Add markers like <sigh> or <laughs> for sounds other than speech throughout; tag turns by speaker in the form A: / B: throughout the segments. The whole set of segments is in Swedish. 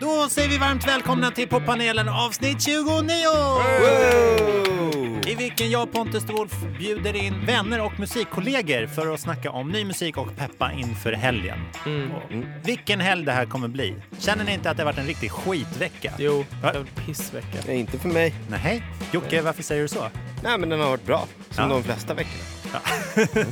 A: Då säger vi varmt välkomna till poppanelen avsnitt 29! I vilken jag, Pontus de Wolf, bjuder in vänner och musikkollegor för att snacka om ny musik och peppa inför helgen. Och vilken helg det här kommer bli. Känner ni inte att det har varit en riktig skitvecka?
B: Jo, det
A: Ja.
B: var en pissvecka.
C: Nej, inte för mig.
A: Nej, Jocke, varför säger du så?
C: Nej, men den har varit bra. Som
A: Ja.
C: de flesta veckorna.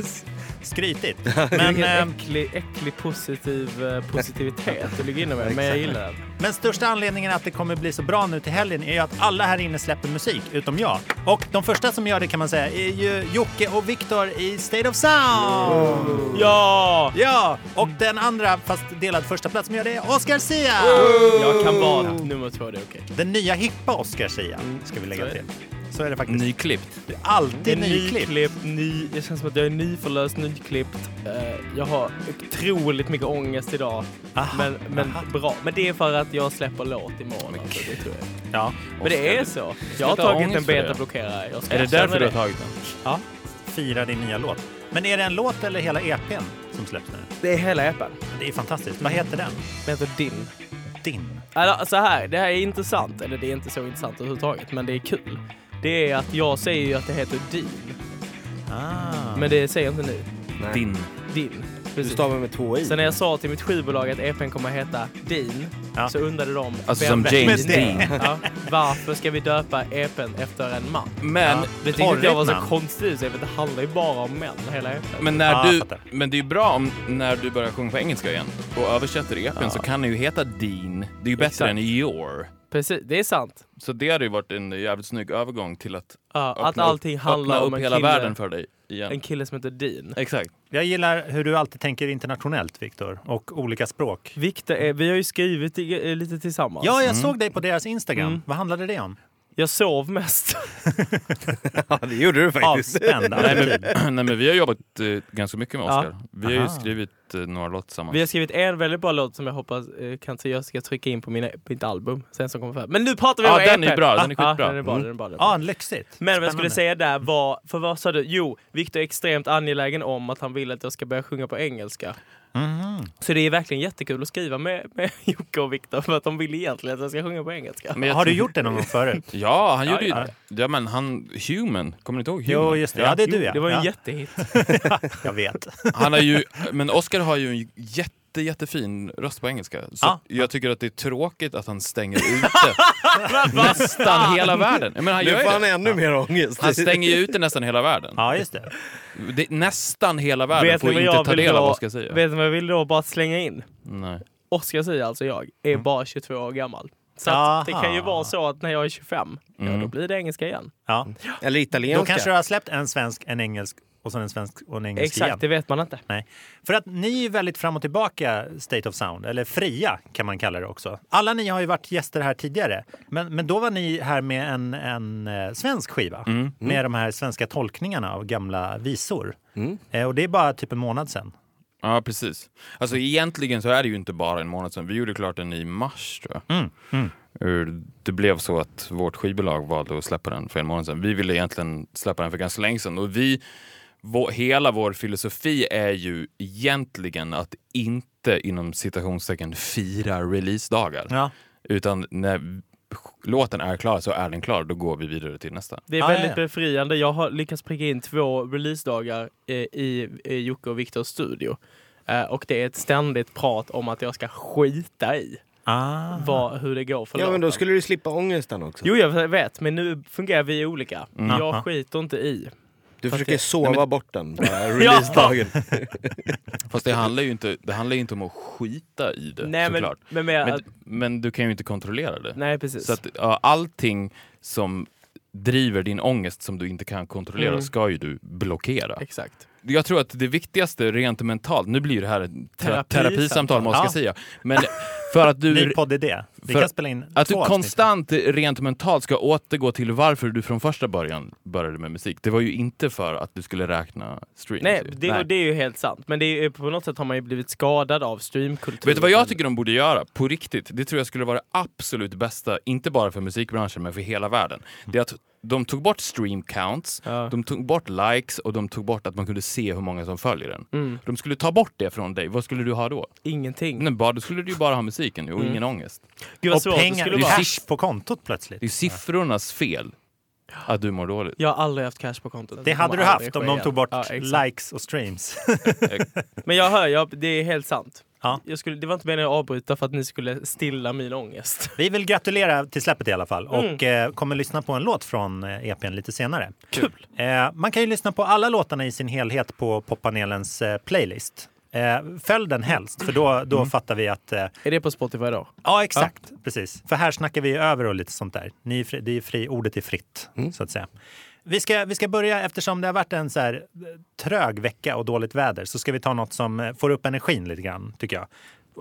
A: Skrytigt.
B: Men,
A: Men, eh,
B: äcklig, äcklig positiv eh, positivitet du ligger inne med, men jag gillar den.
A: men största anledningen att det kommer bli så bra nu till helgen är ju att alla här inne släpper musik, utom jag. Och de första som gör det kan man säga är ju Jocke och Viktor i State of Sound!
B: Ja!
A: Ja, och den andra, fast delad första plats som gör det är Oscar Sia!
B: Jag kan vara
D: Oh.
B: nummer två, det är okej.
A: Den nya hippa Oscar Sia, ska vi lägga
B: så är
A: till. Så är det faktiskt.
D: Nyklippt.
A: Det är alltid nyklippt.
B: nyklippt, ny, jag känns som att jag är nyförlöst, nyklippt. Eh, jag har otroligt mycket ångest idag.
A: Aha,
B: men men
A: aha.
B: bra. Men det är för att jag släpper låt imorgon. Alltså, det tror jag.
A: Ja.
B: Men det är så. Jag har
D: Ska du ha
B: tagit en
D: ångest för det?
B: betablockerare. Jag ska
D: Är det
B: erkänna
D: därför du har tagit den?
B: Ja.
A: Fira din nya låt. Men är det en låt eller hela EPn som släpps nu?
B: Det är hela appen.
A: Det är fantastiskt. Vad heter den?
B: Den heter Din.
A: Din.
B: Alltså så här, det här är intressant. Eller det är inte så intressant överhuvudtaget, men det är kul. Det är att jag säger ju att det heter Din,
A: Ah.
B: men det säger jag inte nu.
C: Nej.
D: Din.
B: Din.
C: Du
B: Precis.
C: stavar med två i.
B: Så när jag sa till mitt skivbolag att EPn kommer att heta Din,
A: Ja.
B: så undrade de...
D: Alltså
B: vem-
D: som
B: vem-
D: James
A: Men det-
D: Dean.
B: Ja, varför ska vi döpa EPn efter en man?
D: Men,
B: Det tyckte inte jag var så
A: Porrigt namn.
B: konstigt, för det handlar ju bara om män, hela E EPn.
D: men,
A: Ja,
D: när du,
A: fattar.
D: men det är ju bra om när du börjar sjunga på engelska igen och översätter epen så kan den ju heta Dean. Det är ju bättre
B: Exakt.
D: än your.
B: Precis, det är sant.
D: Så det hade ju varit en jävligt snygg övergång till att
B: Ja,
D: öppna
B: att allting
D: upp,
B: handlar
D: öppna
B: om
D: upp
B: en
D: hela
B: kille.
D: världen för dig igen.
B: En kille som heter Dean.
D: Exakt. <clears throat>
A: Jag gillar hur du alltid tänker internationellt, Viktor, och olika språk. Mm.
B: Viktor, är, vi har ju skrivit i, eh, lite tillsammans.
A: Ja, jag såg dig på deras Instagram.
B: Mm.
A: Vad handlade det om?
B: Jag sov mest.
C: <laughs>
B: <laughs>
C: Ja, det gjorde du faktiskt.
A: <laughs> Avspänd attityd.
D: Nej men vi har jobbat eh, ganska mycket med
B: Ja.
D: Oscar. Vi har ju
A: Aha.
D: skrivit eh, några låtar tillsammans.
B: Vi har skrivit en väldigt bra låt som jag hoppas eh, kan jag ska trycka in på mina, mitt album sen som kommer fram. Men nu pratar vi
D: Ja,
B: om E
D: den
B: EP.
D: är bra, den är
B: Ja,
D: skitbra.
B: ah, den är bra,
D: Mm.
B: den är bra, den är bra.
A: Ja, lyxigt.
B: Men vad jag skulle
A: Spännande.
B: säga där var, för vad sa du? Jo, Viktor är extremt angelägen om att han vill att jag ska börja sjunga på engelska.
A: Mhm.
B: Så det är verkligen jättekul att skriva med, med <laughs> Jocke och Viktor för att de vill egentligen att jag ska sjunga på engelska.
D: Men jag
A: Har du
D: tror-
A: gjort det någon gång <laughs> förut?
D: Ja, han gjorde ju...
A: ja.
D: Ja. men han... Human. Kommer ni inte ihåg
A: Jo,
D: Human?
A: just det. Ja, det är du ja.
B: Det var ju en
A: ja.
B: jättehit.
A: Jag vet.
D: Han har ju... Men Oscar har ju en jätte, jättefin röst på engelska. Så
A: Ja.
D: jag tycker att det är tråkigt att
B: <laughs>
D: han stänger ute nästan hela världen. Men han
C: Nu
D: gör
C: får
D: ju
C: han
D: det.
C: ännu mer ångest. <laughs>
D: Han stänger ju ute nästan hela världen.
A: Ja, just det.
D: Det, nästan hela världen
B: vet
D: får
B: ni vad
D: inte
B: jag
D: ta
B: vill
D: del av
B: då,
D: vad Oscar säger.
B: vet ni vad jag vill då bara slänga in?
D: Nej.
B: Oscar säger alltså jag, är bara 22 år gammal. Så
A: Aha.
B: att det kan ju vara så att när jag är 25, ja,
D: Mm.
B: då blir det engelska igen.
A: Ja.
C: Eller
A: Då
C: italienska.
A: kanske du har släppt en svensk, en engelsk och sen en svensk och en engelsk
B: Exakt,
A: igen.
B: det vet man inte.
A: Nej. För att ni är ju väldigt fram och tillbaka, State of Sound, eller fria kan man kalla det också. Alla ni har ju varit gäster här tidigare, men, men då var ni här med en, en eh, svensk skiva med de här svenska tolkningarna av gamla visor. Eh, och det är bara typ en månad sedan.
D: Ja, precis. Alltså egentligen så är det ju inte bara en månad sedan. Vi gjorde klart den i mars tror jag.
B: Mm,
D: Eh, Det blev så att vårt skivbolag valde att släppa den för en månad sedan. Vi ville egentligen släppa den för ganska länge sedan. Och vi, vår, hela vår filosofi är ju egentligen att inte inom citationstecken fira releasedagar.
A: Ja.
D: Utan när låten är klar så är den klar. Då går vi vidare till nästa.
B: Det är
A: Ah,
B: väldigt
A: ja.
B: befriande. Jag har lyckats pricka in två releasedagar eh, i eh, Jocke och Viktors studio. Eh, Och det är ett ständigt prat om att jag ska skita i
A: Ah.
B: vad, hur det går för
C: Ja,
B: låten.
C: men då skulle du slippa ångesten också.
B: Jo, jag vet, men nu fungerar vi olika.
A: Aha.
B: Jag skiter inte i.
C: du
B: fast
C: försöker
B: det-
C: sova bort den. bara Releasedagen.
D: Fast det handlar ju inte, det handlar ju inte om att skita i det
B: Nej, men,
D: såklart.
B: men, men,
D: Men, men du kan ju inte kontrollera det.
B: nej, precis.
D: Så att ja, allting som driver din ångest som du inte kan kontrollera
B: Mm.
D: ska ju du blockera.
B: Exakt.
D: Jag tror att det viktigaste rent mentalt, nu blir det här ett tera-
B: Terapi-
D: terapisamtal med Oscar
A: Ja.
D: Sia,
B: <laughs>
D: men för att
A: Ny
D: du,
A: poddidé. Vi
D: för-
A: kan spela in
D: att du
A: två avsnitt.
D: konstant rent mentalt ska återgå till varför du från första början började med musik. Det var ju inte för att du skulle räkna streams. typ.
B: Nej,
D: ju.
B: det, och det är ju helt sant. Men det är, på något sätt har man ju blivit skadad av streamkulturen.
D: Vet du vad jag tycker de borde göra? På riktigt. Det tror jag skulle vara det absolut bästa, inte bara för musikbranschen men för hela världen. Det är att de tog bort stream counts,
B: Ja.
D: de tog bort likes och de tog bort att man kunde se hur många som följer den.
B: Mm.
D: De skulle ta bort det från dig, vad skulle du ha då?
B: Ingenting.
D: Nej, bara, då skulle du ju bara ha musiken ju, och
B: Mm.
D: ingen ångest.
B: Gud vad
A: Och
B: svårt det skulle
A: pengar,
B: vara.
A: cash på kontot plötsligt.
D: Det är siffrornas fel att du mår dåligt.
B: Jag har aldrig haft cash på kontot.
A: Det hade
B: kommer
A: du
B: aldrig
A: haft om
B: ske
A: de
B: igen.
A: tog bort
B: Ja, exakt.
A: likes och streams.
B: Men jag hör, jag, det är helt sant.
A: Ja.
B: Jag skulle, det var inte meningen att avbryta för att ni skulle stilla min
D: <laughs>
B: ångest.
A: Vi vill gratulera till släppet i alla fall och eh, kommer lyssna på en låt från eh, EPn lite senare.
D: Kul.
A: Eh, man kan ju lyssna på alla låtarna i sin helhet på poppanelens eh, playlist. Eh, följ den helst, för då, då fattar vi att... Eh,
B: Är det på Spotify då?
A: ja, exakt. Precis. För här snackar vi ju över och lite sånt där. Ni är fri, det är fri, ordet är fritt, så att säga. Vi ska, vi ska börja, eftersom det har varit en så här, eh, trög vecka och dåligt väder, så ska vi ta något som eh, får upp energin lite grann, tycker jag.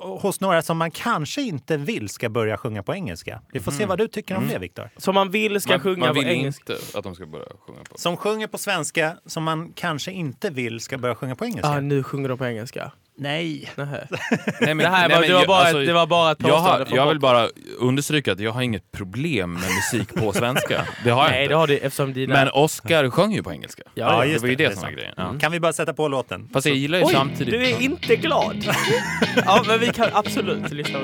A: Hos några som man kanske inte vill ska börja sjunga på engelska. Vi får se
D: Mm.
A: vad du tycker om det, Viktor.
B: Som man vill ska
D: Man,
B: sjunga
D: man
B: på
D: vill
B: engelska.
D: inte att de ska börja sjunga på.
A: Som sjunger på svenska, som man kanske inte vill ska börja sjunga på engelska.
B: Ah, nu sjunger de på engelska.
A: Nej.
B: Nähä.
D: <laughs> Nej, men,
B: Det här
D: nej,
B: var,
D: men
B: det, var
D: jag-
B: bara,
D: alltså,
B: ett- det var bara ett
D: Jag, har,
B: påstående från
D: jag vill
B: Bob.
D: bara understryka att jag har inget problem med musik på svenska. Det har jag
B: Nej,
D: inte.
B: det har du eftersom dina...
D: Men Oscar sjöng ju på engelska.
B: Ja,
D: det
A: just
D: var ju
A: det,
D: det,
A: det är
D: som var
A: sant.
D: grejen.
A: Mm.
D: Ja.
A: Kan vi bara sätta på låten?
D: Fast jag gillar ju
B: Oj,
D: samtidigt...
B: du är inte
D: <laughs>
B: glad! ja, men vi kan absolut lyssna.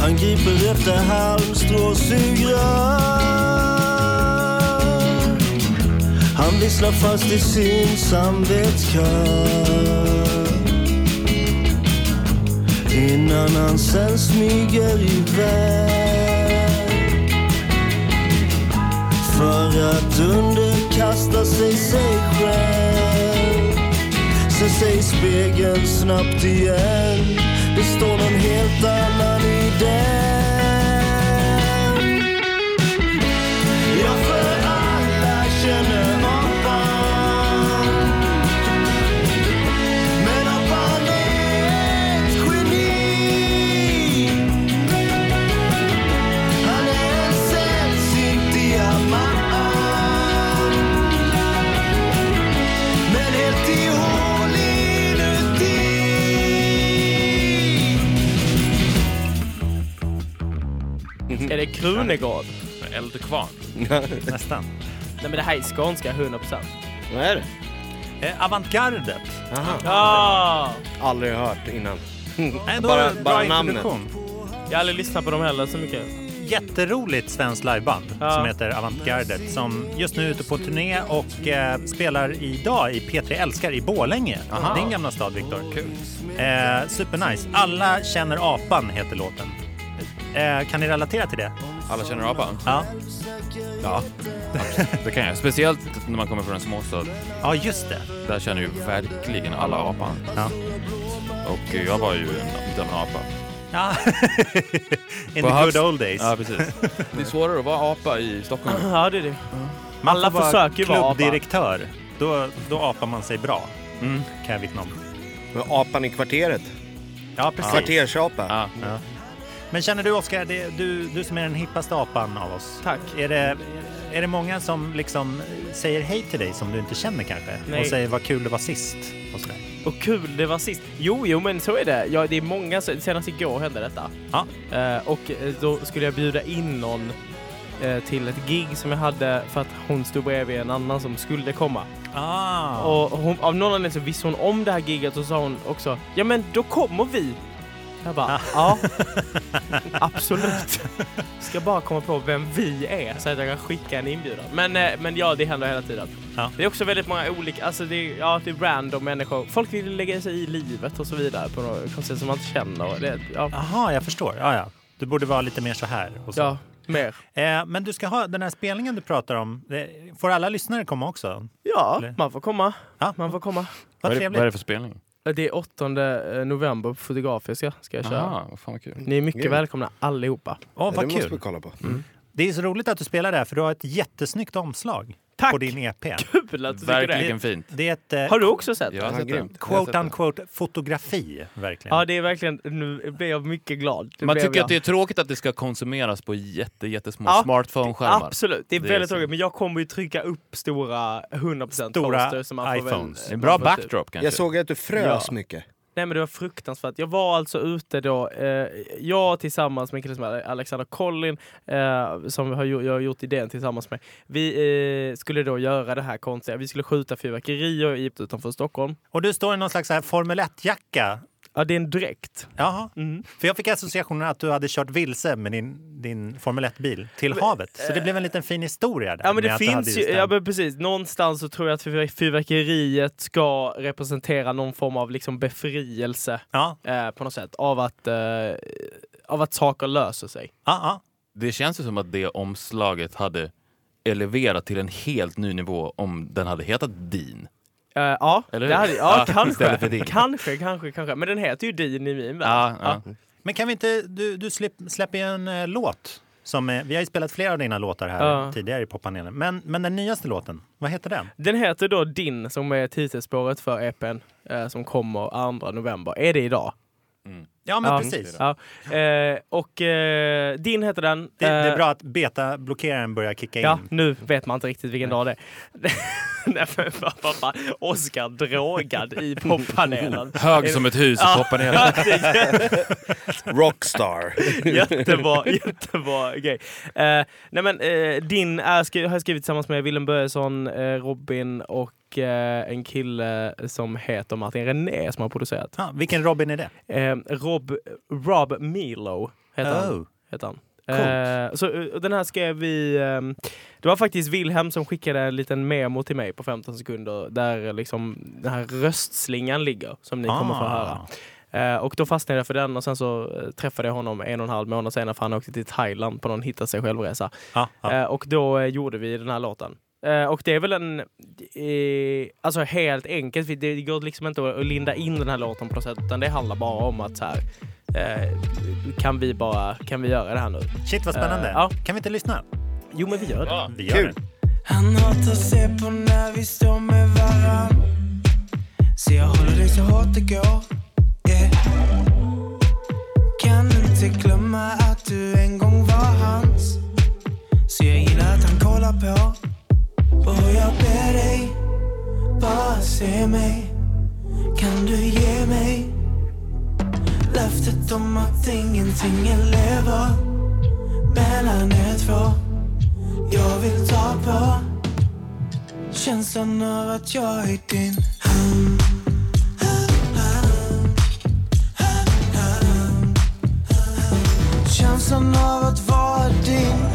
E: Han griper efter halmstråsugrör Han visslar fast i sin samvetskör Innan han sen smyger iväg För att underkasta sig sig själv Ser sig i spegeln snabbt igen Det står någon helt annan i den Ja, för alla känner apan Men apan är ett geni Han är en sällsynt diamant men helt i hål inuti
B: Är det Krunegård?
D: Eldkvarn.
A: Nästan.
B: Nej, men det här är skånska 100%.
C: Vad är det?
A: Eh, Avantgardet.
B: Ah!
C: Aldrig hört innan.
A: Ändå
C: Bara-
A: bra
C: bara
A: introduktion.
B: Jag har aldrig lyssnat på dem heller så mycket.
A: Jätteroligt svenskt liveband
B: Ja.
A: som heter Avantgardet som just nu är ute på turné och eh, spelar idag i P3 Älskar i Borlänge. Din gamla stad, Viktor.
D: Kul.
A: Eh, supernice. Alla känner apan heter låten. Eh, kan ni relatera till det?
D: Alla känner apan?
A: Ja,
D: Ja, absolut. det kan jag. Speciellt när man kommer från en småstad.
A: ja just det.
D: Där känner ju verkligen alla apan.
A: Ja.
D: Och eh, jag var ju en, lite av en apa.
A: Ja. <laughs> In the
D: Perhaps-
A: good old days.
D: Ja, precis. Det är svårare att vara apa i Stockholm.
B: <clears throat> Ja, det är det.
A: Man
B: Alla
A: får vara
B: försöker ju vara apa.
A: klubbdirektör. Då, då apar man sig bra,
B: Mm.
A: kan jag vittna om.
C: Men apan i kvarteret.
A: Ja, precis.
C: Kvartersapa.
D: Ja.
A: Men känner du Oskar, det- du, du som är den hippaste apan av oss.
B: Tack.
A: Är det, är det många som liksom säger hej till dig som du inte känner kanske?
B: Nej.
A: Och säger vad kul det var sist? Och sådär.
B: Och kul det var sist. Jo, jo, men så är det. Ja, det är många. som- Senast igår hände detta.
A: Ja.
B: Eh, och eh, då skulle jag bjuda in någon eh, till ett gig som jag hade för att hon stod bredvid en annan som skulle komma.
A: Ah.
B: Och hon, av någon anledning så visste hon om det här giget och sa hon också Ja men då kommer vi! Jag bara ja, absolut. Ska bara komma på vem vi är så att jag kan skicka en inbjudan. Men, eh, men ja, det händer hela tiden.
A: Ja.
B: Det är också väldigt många olika, alltså det är, ja, det är random människor. Folk vill lägga sig i livet och så vidare på något konstigt som man inte känner. Det, ja,
A: Aha, jag förstår. Ja, ja. Du borde vara lite mer så här. Och så.
B: ja, mer.
A: Eh, men du ska ha den här spelningen du pratar om. det- Får alla lyssnare komma också?
B: Ja,
A: Eller?
B: man får komma.
A: Ja.
B: Man får komma.
D: Vad,
A: Vad
D: är det, vad
A: trevligt.
D: är det för spelning?
B: Det är 8 november på Fotografiska ska jag köra.
D: Aha, vad fan vad kul.
B: Ni är mycket välkomna allihopa.
A: Åh,
C: det
A: vad
C: måste vi
A: kul.
C: kolla på.
A: Det är så roligt att du spelar det här för du har ett jättesnyggt omslag
B: Tack!
A: på din EP.
B: Kul att du tycker det.
D: Verkligen fint.
A: Det är ett eh,
B: Har du också sett
D: Jag har
B: det?
D: sett den.
C: grymt.
A: quote unquote fotografi, verkligen.
B: Ja, det är verkligen... Nu blev jag mycket glad. Det
D: Man
B: blev
D: tycker
B: jag.
D: att det är tråkigt att det ska konsumeras på jätte, jättesmå
B: Ja,
D: smartphone-skärmar.
B: Absolut, det är
D: Det är
B: väldigt
D: så.
B: tråkigt. Men jag kommer ju trycka upp stora 100%
A: Stora
B: poster. som man får väl-
A: iPhones.
D: En bra
B: man får typ-
D: backdrop kanske.
C: Jag såg att du frös
B: Ja.
C: mycket.
B: Nej men det var fruktansvärt. Jag var alltså ute då, eh, jag tillsammans med en kille som heter Alexander Collin, eh, som jag har, gjort- jag har gjort idén tillsammans med. Vi eh, skulle då göra det här konstiga, vi skulle skjuta fyrverkerier i Egypt utanför Stockholm.
A: Och du står i någon slags så här Formel 1-jacka.
B: Ja det är en dräkt.
A: Jaha.
B: Mm.
A: För jag fick associationen att du hade kört vilse med din, din Formel 1-bil till havet. Så det blev en liten fin historia där.
B: eh, Ja men
A: med
B: det
A: att du hade
B: finns
A: just
B: ju,
A: den.
B: ja men precis, någonstans så tror jag att fyrver- fyrverkeriet ska representera någon form av liksom befrielse
A: Ja,
B: eh, på något sätt av att, eh, av att saker löser sig.
A: ja, ja.
D: Det känns ju som att det omslaget hade eleverat till en helt ny nivå om den hade hetat Din.
B: Eh, ja,
D: Eller
B: det
D: hur?
B: hade, ja,
D: Ja,
B: kanske,
D: istället för din.
B: kanske, kanske, kanske. Men den heter ju Din i min värld.
D: Ja, ja.
A: Men kan vi inte, du, du släpp, släpper ju en eh, låt. Som, eh, vi har ju spelat flera av dina låtar här
B: Ja.
A: tidigare i poppanelen. Men, men den nyaste låten, vad heter den?
B: Den heter då Din, som är titelspåret för EPn eh, som kommer 2 november. Är det idag?
A: Ja, men
B: Ja.
A: precis.
B: Ja. Eh, och eh, Din heter den.
A: Det, det
B: Eh,
A: är bra att beta-blockeraren börjar kicka
B: Ja,
A: in.
B: nu vet man inte riktigt vilken dag det är. <laughs> Nej, men vad- vad fan. Oskar drogad i poppanelen.
D: Hög som ett hus i poppanelen.
C: Rockstar.
B: jättebra, jättebra grej. Eh, nej men, eh, din är skri- har jag skrivit tillsammans med Willem Börjesson, eh, Robin och eh, en kille som heter Martin René som har producerat.
A: Ja, vilken Robin är det?
B: Eh, Rob, Rob Milo heter han.
A: Oh.
B: Heter han.
A: Coolt.
B: Eh, så eh, den här skrev vi... ehm, det var faktiskt Wilhelm som skickade en liten memo till mig på 15 sekunder där eh, liksom den här röstslingan ligger som ni kommer få höra. Eh, och då fastnade jag för den och sen så eh, träffade jag honom en och en halv månad senare för han åkte till Thailand på någon hitta sig själv-resa.
A: Ja, ja.
B: Eh, och då eh, gjorde vi den här låten. Eh, och det är väl en... Eh, alltså helt enkelt, för det går liksom inte att att linda in den här låten på något sätt utan det handlar bara om att så här, eh, kan vi bara, kan vi göra det här nu?
A: Shit, vad spännande.
B: Eh, ja.
A: Kan vi inte lyssna?
B: Jo men vi gör det.
A: Vi gör
C: Kul.
A: det.
F: Han hatar se på när vi står med varann Så jag håller dig så hårt det går yeah. Kan inte glömma att du en gång var hans Så jag gillar att han kollar på Och jag ber dig, bara se mig Kan du ge mig löftet om att ingenting är lever mellan er två jag vill ta på känslan av att jag är din hand. Känslan av att vara din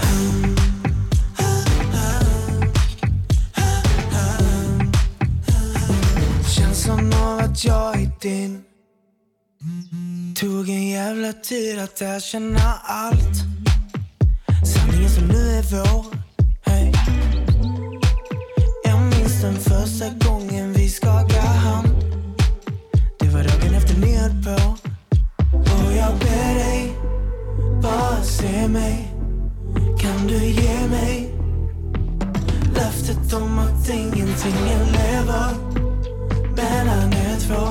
F: Känslan av att jag är din Tog en jävla tid att erkänna allt Sanningen som nu är vår hey. Jag minns den första gången vi skakade hand Det var dagen efter ni höll på Och jag ber dig, bara se mig Kan du ge mig löftet om att ingenting är lever mellan er två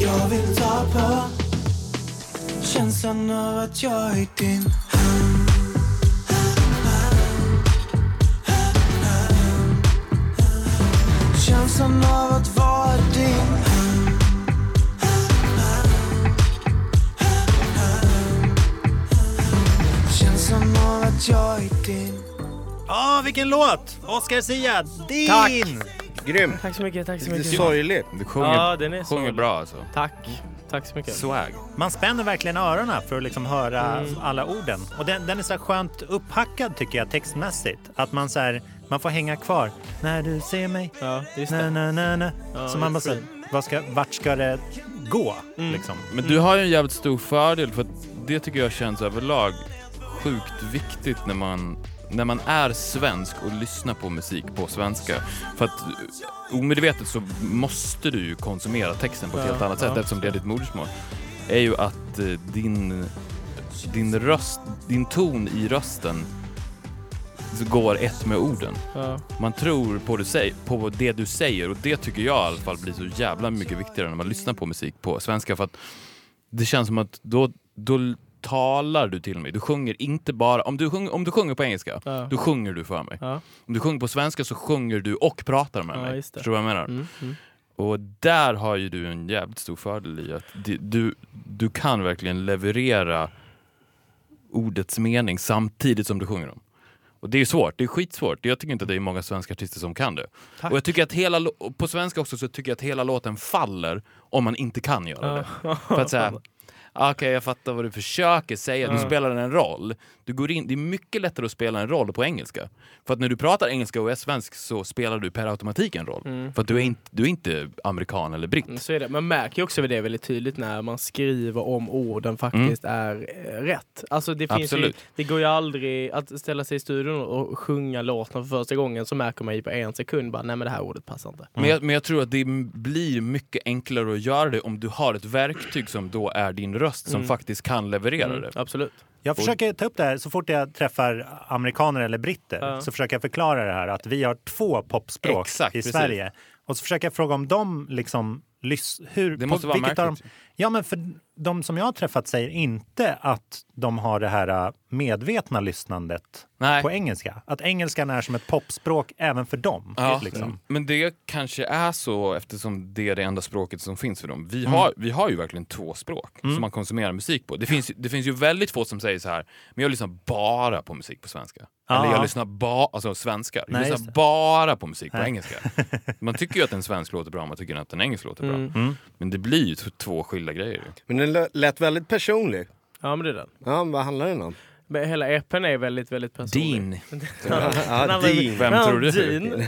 F: Jag vill ta på känslan av att jag är din Känslan av att vara din Känslan av att jag är din
A: Ja, vilken låt! Oscar Zia, din!
C: Grymt.
B: Tack så mycket, tack så
C: Lite
B: mycket.
C: sorgligt.
D: Du sjunger,
B: Ja, den är så-
D: sjunger bra alltså.
B: Tack. Tack så mycket.
D: Swag.
A: Man spänner verkligen öronen för att liksom höra
B: Mm.
A: alla orden. Och den, den är så här skönt upphackad tycker jag textmässigt. Att man, så här, man får hänga kvar. När du ser mig,
B: Ja, just
A: na
B: det.
A: na na na. så man bara
B: just
A: så här, vad ska, vart ska det gå?
B: Mm.
A: Liksom.
D: Men du har ju en jävligt stor fördel för att det tycker jag känns överlag sjukt viktigt när man, när man är svensk och lyssnar på musik på svenska. För att eh, omedvetet så måste du ju konsumera texten på ett
B: Ja,
D: helt annat sätt
B: ja.
D: eftersom det är ditt modersmål. är ju att eh, din, din röst, din ton i rösten går ett med orden.
B: Ja.
D: Man tror på det, säg- på det du säger och det tycker jag i alla fall blir så jävla mycket viktigare när man lyssnar på musik på svenska för att det känns som att då, då talar du till mig. Du sjunger inte bara... Om du, sjung, om du sjunger på engelska,
B: Ja.
D: då sjunger du för mig.
B: Ja.
D: Om du sjunger på svenska så sjunger du och pratar med
B: Ja,
D: mig.
B: just det.
D: Förstår du vad jag menar?
B: Mm, mm.
D: Och där har ju du en jävligt stor fördel i att di- du, du kan verkligen leverera ordets mening samtidigt som du sjunger dem. Och det är ju svårt, det är skitsvårt. Jag tycker inte att det är många svenska artister som kan det. Och jag tycker att hela, lå- och på svenska också så tycker jag att hela låten faller om man inte kan göra det. För att säga, "Ah, okej jag fattar vad du försöker säga, du spelar en roll. Du går in, det är mycket lättare att spela en roll på engelska. För att när du pratar engelska och är svensk så spelar du per automatik en roll. För att du är, inte, du är inte amerikan eller britt.
B: Mm, Så är det. Man märker ju också det väldigt tydligt när man skriver om orden faktiskt är eh, rätt. Alltså det, finns ju,
D: Mm. Absolut.
B: det går ju aldrig att ställa sig i studion och sjunga låten för första gången så märker man ju på en sekund bara nej men det här ordet passar inte.
D: Men, jag, men jag tror att det m- blir mycket enklare att göra det om du har ett verktyg som då är din röst som faktiskt kan leverera
B: Mm,
D: det.
B: absolut.
A: Jag försöker ta upp det här så fort jag träffar amerikaner eller britter
B: Ja.
A: så försöker jag förklara det här att vi har två popspråk
D: Exakt,
A: i
D: precis.
A: Sverige. Och så försöker jag fråga om de liksom lys- hur,
D: Det måste vara
A: vilket av dem-
D: märkligt.
A: Ja, men för de som jag har träffat säger inte att de har det här äh, medvetna lyssnandet
D: Nej.
A: på engelska. Att engelskan är som ett popspråk även för dem.
D: Ja, Mm.
A: Liksom.
D: Men det kanske är så eftersom det är det enda språket som finns för dem.
B: Mm.
D: Vi har, vi har ju verkligen två språk som man konsumerar musik på. Det finns, ju- det finns ju väldigt få som säger så här, men jag lyssnar bara på musik på svenska. Eller
A: Ja.
B: Ah.
D: jag lyssnar bara, alltså svenskar, jag
A: Nej, just
D: lyssnar
A: det.
D: bara på musik på engelska.
B: <laughs>
D: Man tycker ju att en svensk låter bra, man tycker att en engelsk låter bra.
B: Mm.
D: Men det blir ju t- två skilda grejer. ju.
C: Men den lö- lät väldigt personlig.
B: Ja men det är den.
C: Ja, vad handlar den om?
B: Men hela EPn är väldigt, väldigt personlig.
C: Ja, Dean.
D: Vem
B: Ja,
D: tror du? <laughs>
B: Dean.
C: <laughs>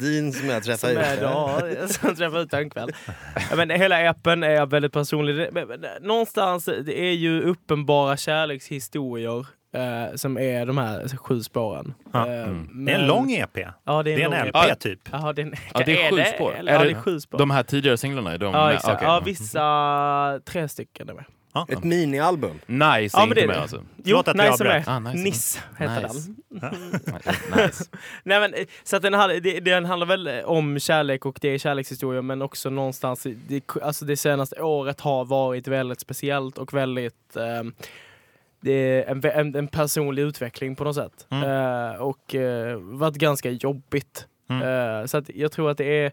C: Dean som jag
B: Som
C: träffade.
B: är <laughs> då, som träffar ut en kväll. Ja, Men hela appen är väldigt personlig. Det- men- men Någonstans, det är ju uppenbara kärlekshistorier eh, som är de här sju spåren.
A: Ja.
B: Eh,
A: Det är en
B: men-
A: lång EP.
B: Ja, det är en,
A: Det är en
B: lång
A: LP
D: E
B: EP.
A: typ.
B: Jaha, det är, en,
D: Ja, det är sju spår.
B: Eller?
D: Är
B: ja,
D: det-
B: det är sju spår.
D: De här tidigare singlarna, är de
B: ja,
D: med?
B: exakt.
D: Okej. Mm.
B: Ja, vissa tre stycken är med.
A: Ja.
C: Ett minialbum.
D: Nice
B: Ja,
D: är
B: men det
D: inte
B: är
D: med
B: det. <laughs>
D: alltså?
B: Jo,
A: Förlåt att jag
B: nice är med.
A: avbröt.
D: Ah, Nice.
B: Nice heter
D: Nice.
B: den.
D: Nice.
B: Nej, men, eh, så att den, hade- det- den handlar väl eh, om kärlek och det är kärlekshistoria men också någonstans, i- det, alltså det senaste året har varit väldigt speciellt och väldigt ehm, det är en, en, en personlig utveckling på något sätt. Eh, och eh, varit ganska jobbigt. Eh, så att jag tror att det är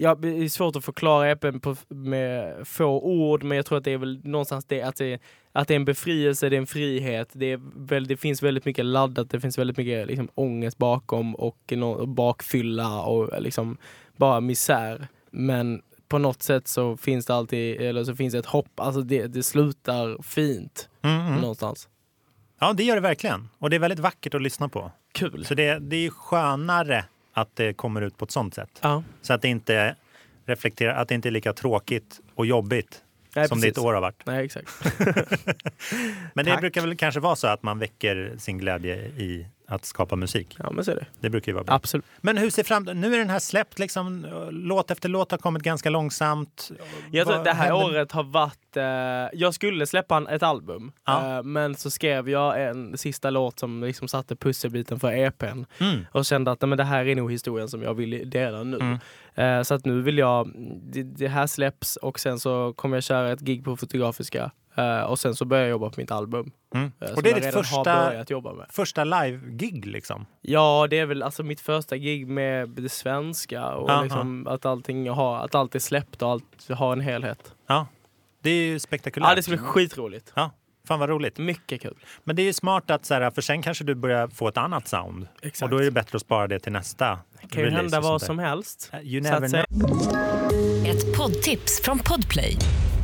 B: Ja, det är svårt att förklara EPn på, med få ord, men jag tror att det är väl någonstans det att det, att det är en befrielse, det är en frihet. Det, är väl, det finns väldigt mycket laddat, det finns väldigt mycket liksom, ångest bakom och no, bakfylla och liksom bara misär. Men på något sätt så finns det alltid, eller så finns det ett hopp. Alltså det, det slutar fint
A: Mm, mm.
B: någonstans.
A: Ja, det gör det verkligen. Och det är väldigt vackert att lyssna på.
B: Kul.
A: Så det, det är skönare att det kommer ut på ett sånt sätt.
B: Ja.
A: Så att det inte reflekterar, att det inte är lika tråkigt och jobbigt
B: Nej,
A: som
B: precis.
A: ditt år har varit.
B: Nej, exakt.
A: Men det
B: Tack.
A: brukar väl kanske vara så att man väcker sin glädje i att skapa musik.
B: Ja, men så är det.
A: Det brukar ju vara bra.
B: Absolut.
A: Men hur ser fram Nu är den här släppt, liksom, låt efter låt har kommit ganska långsamt.
B: Jag tror
A: Vad
B: att det här
A: händer?
B: året har varit... Eh, jag skulle släppa en, ett album,
A: Ja.
B: eh, men så skrev jag en sista låt som liksom satte pusselbiten för EPn
A: Mm.
B: och kände att nej, men det här är nog historien som jag vill dela nu. Eh, så att nu vill jag... Det, det här släpps och sen så kommer jag köra ett gig på Fotografiska eh, och sen så börjar jag jobba på mitt album.
A: Mm.
B: eh,
A: Och
B: som
A: det är
B: jag
A: ditt
B: redan har
A: första,
B: börjat jobba med.
A: första live-gig liksom?
B: Ja, det är väl alltså mitt första gig med det svenska och
A: Aha.
B: liksom att, allting har, att allt är släppt och allt har en helhet.
A: Ja. Det är ju
B: Ja,
A: spektakulärt.
B: det ska bli skitroligt.
A: Ja, fan vad roligt.
B: Mycket kul.
A: Men det är ju smart att så här, för sen kanske du börjar få ett annat sound.
B: Exakt.
A: Och då är det bättre att spara det till nästa
B: Det kan ju
A: release
B: hända
A: och
B: vad
A: sånt där. Eh, Uh,
B: som helst.
A: You
B: Så
A: never
B: att säga.
A: know.
G: Ett poddtips från Podplay.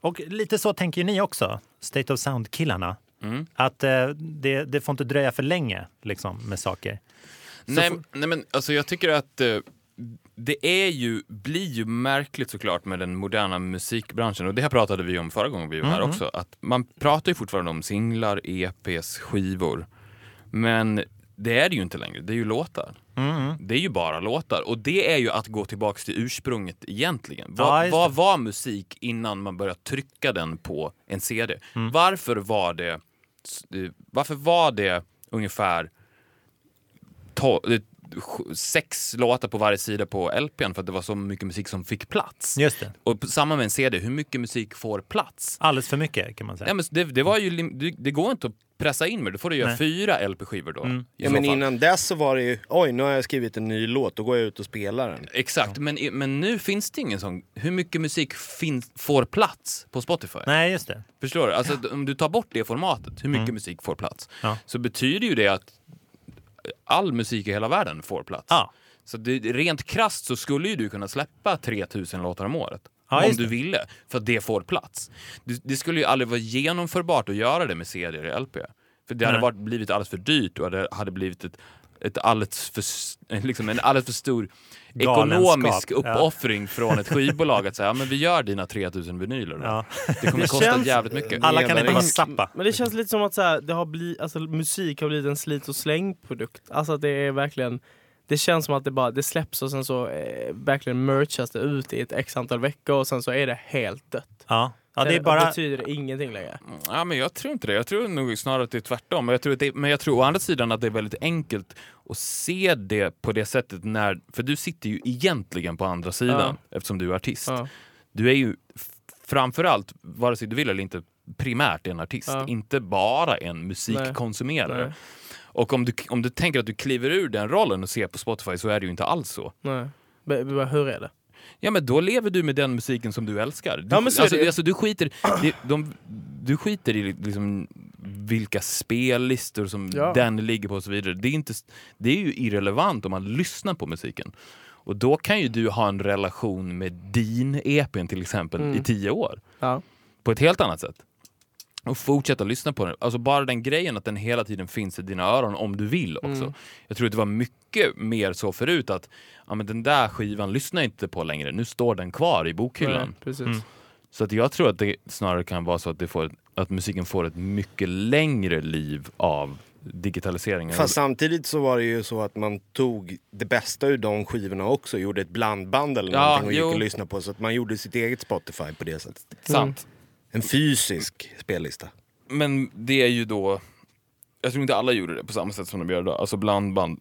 A: Och lite så tänker ju ni också, State of Sound-killarna. Att eh, det, det får inte dröja för länge liksom, med saker.
D: Nej, nej men alltså jag tycker att eh, det är ju, blir ju märkligt såklart med den moderna musikbranschen och det här pratade vi om förra gången vi var här
A: Mm-hmm.
D: också. Att man pratar ju fortfarande om singlar, EPs, skivor. Men det är det ju inte längre, det är ju låtar.
A: Mm-hmm.
D: Det är ju bara låtar och det är ju att gå tillbaks till ursprunget egentligen.
A: Ja,
D: Vad,
A: just
D: vad var musik innan man började trycka den på en CD?
A: Mm.
D: Varför var det eh, varför var det ungefär to- eh, sj- sex låtar på varje sida på LPn för att det var så mycket musik som fick plats?
A: Just det.
D: Och på- samma med en CD, hur mycket musik får plats?
A: Alldeles för mycket kan man säga.
D: Ja, men det, det, var ju, lim- det, det går inte att pressa in mer, då får du göra
A: Nej.
D: fyra LP-skivor då. i
C: Ja,
D: så
C: men
D: fall.
C: innan dess så var det ju, oj nu har jag skrivit en ny låt, då går jag ut och spelar den.
D: Exakt, men, i- men nu finns det ingen sån. Hur mycket musik finns, får plats på Spotify?
A: Nej, just det.
D: Förstår du? Alltså, att Om du tar bort det formatet, hur mycket musik får plats,
A: Mm. Ja.
D: så betyder ju det att all musik i hela världen får plats.
A: Ja.
D: Så det, rent krasst så skulle ju du kunna släppa 3000 låtar om året.
A: Ja,
D: om
A: just
D: du
A: det.
D: ville, för att det får plats. Det, det skulle ju aldrig vara genomförbart att göra det med CD eller LP. För det hade
A: Nej.
D: varit, blivit alldeles för dyrt och det hade blivit ett, ett alldeles för, s- liksom en alldeles för stor
A: Galenskap,
D: ekonomisk
A: ja.
D: uppoffring från ett skivbolag att säga, ja, men vi gör dina 3000 vinyler då.
A: Ja.
D: Det kommer
B: Det
D: kosta
B: känns-
D: jävligt mycket.
A: Alla kan
C: Ledare.
A: inte vara Zappa.
B: Men det känns lite som att så här, det har bli, alltså, musik har blivit en slit och släng-produkt. Alltså att det är verkligen... Det känns som att det bara det släpps och sen så eh, verkligen merchas det ut i ett x antal veckor och sen så är det helt dött.
A: Ja. ja, det är
B: Sen
A: bara...
B: betyder ingenting längre.
D: Ja, men jag tror inte det. Jag tror nog snarare att det är tvärtom. Jag tror att det, men jag tror å andra sidan att det är väldigt enkelt att se det på det sättet när... För du sitter ju egentligen på andra sidan eftersom du är artist.
B: Ja.
D: Du är ju f- framförallt, vare sig du vill eller inte, primärt en artist.
B: Ja.
D: Inte bara en musikkonsumerare.
B: Nej.
D: Och om du, om du tänker att du kliver ur den rollen och ser på Spotify så är det ju inte alls så.
B: Nej. Men- men Hur är det?
D: Ja men då lever du med den musiken som du älskar. Du,
B: Ja, men så är
D: alltså,
B: det.
D: alltså, du, skiter, det- de, du skiter i liksom vilka spellistor som
B: Ja.
D: den ligger på och så vidare. Det är, inte, det är ju irrelevant om man lyssnar på musiken. Och då kan ju du ha en relation med din EPn till exempel
B: Mm.
D: i tio år.
B: Ja.
D: På ett helt annat sätt. Och fortsätta lyssna på den. Alltså bara den grejen att den hela tiden finns i dina öron om du vill också.
B: Mm.
D: Jag tror att det var mycket mer så förut att ja, men den där skivan lyssnar jag inte på längre. Nu står den kvar i bokhyllan.
B: Nej, precis.
A: Mm.
D: Så att jag tror att det snarare kan vara så att, det får, att musiken får ett mycket längre liv av digitaliseringen.
C: Fast samtidigt så var det ju så att man tog det bästa ur de skivorna också, gjorde ett blandband eller
D: Ja,
C: någonting och
D: jo.
C: gick och lyssnade på. Så att man gjorde sitt eget Spotify på det sättet.
B: Mm.
D: Sant.
C: En fysisk spellista.
D: Men det är ju då... Jag tror inte alla gjorde det på samma sätt som de gör idag. Alltså blandband.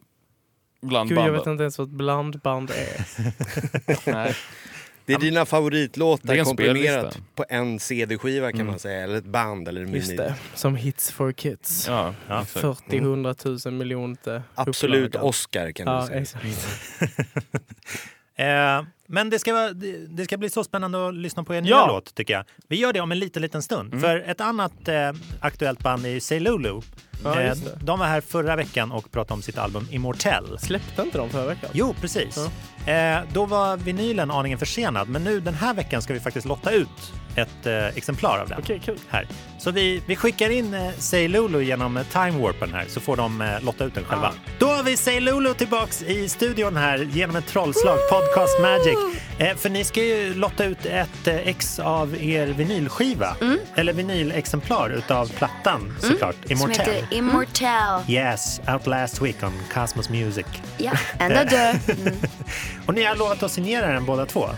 B: Gud, jag
D: Blandband.
B: vet inte ens vad ett blandband
A: <laughs>
B: är.
D: Nej.
C: Det är dina favoritlåtar
D: Det är en
C: komprimerat
D: spellista. Mm.
C: på en CD-skiva kan man säga, eller ett band eller en
B: Just
C: mini.
B: det. Som hits for kids.
D: Ja, exakt.
B: 40 100 000 miljoner
C: Absolut
B: upplagan.
C: Oscar kan du
B: Ja,
C: säga.
B: exakt.
A: Eh, men det ska, vara- det- det ska bli så spännande att lyssna på er nya
B: Ja.
A: låt, tycker jag. Vi gör det om en liten, liten stund. För ett annat eh, aktuellt band är Say Lulu.
B: Ja,
A: Eh,
B: just det.
A: de var här förra veckan och pratade om sitt album Immortell.
B: Släppte inte de förra veckan?
A: Jo, precis. Eh, då var vinylen aningen försenad, men nu den här veckan ska vi faktiskt lotta ut ett eh, exemplar av den.
B: Okej, kul.
A: Här. Så vi, vi skickar in eh, Say Lulu genom eh, Time Warpen här så får de eh, lotta ut den själva.
B: Ah.
A: Då har vi Say Lulu tillbaks i studion här genom ett trollslag, Podcast Magic. Eh, för ni ska ju lotta ut ett eh, ex av er vinylskiva,
B: Mm.
A: eller vinylexemplar utav plattan såklart,
H: Som
A: Immortell.
H: heter Immortal.
A: Yes, out last week on Cosmos Music.
H: Ja, ända dö.
A: Och ni har lovat att signera den båda två.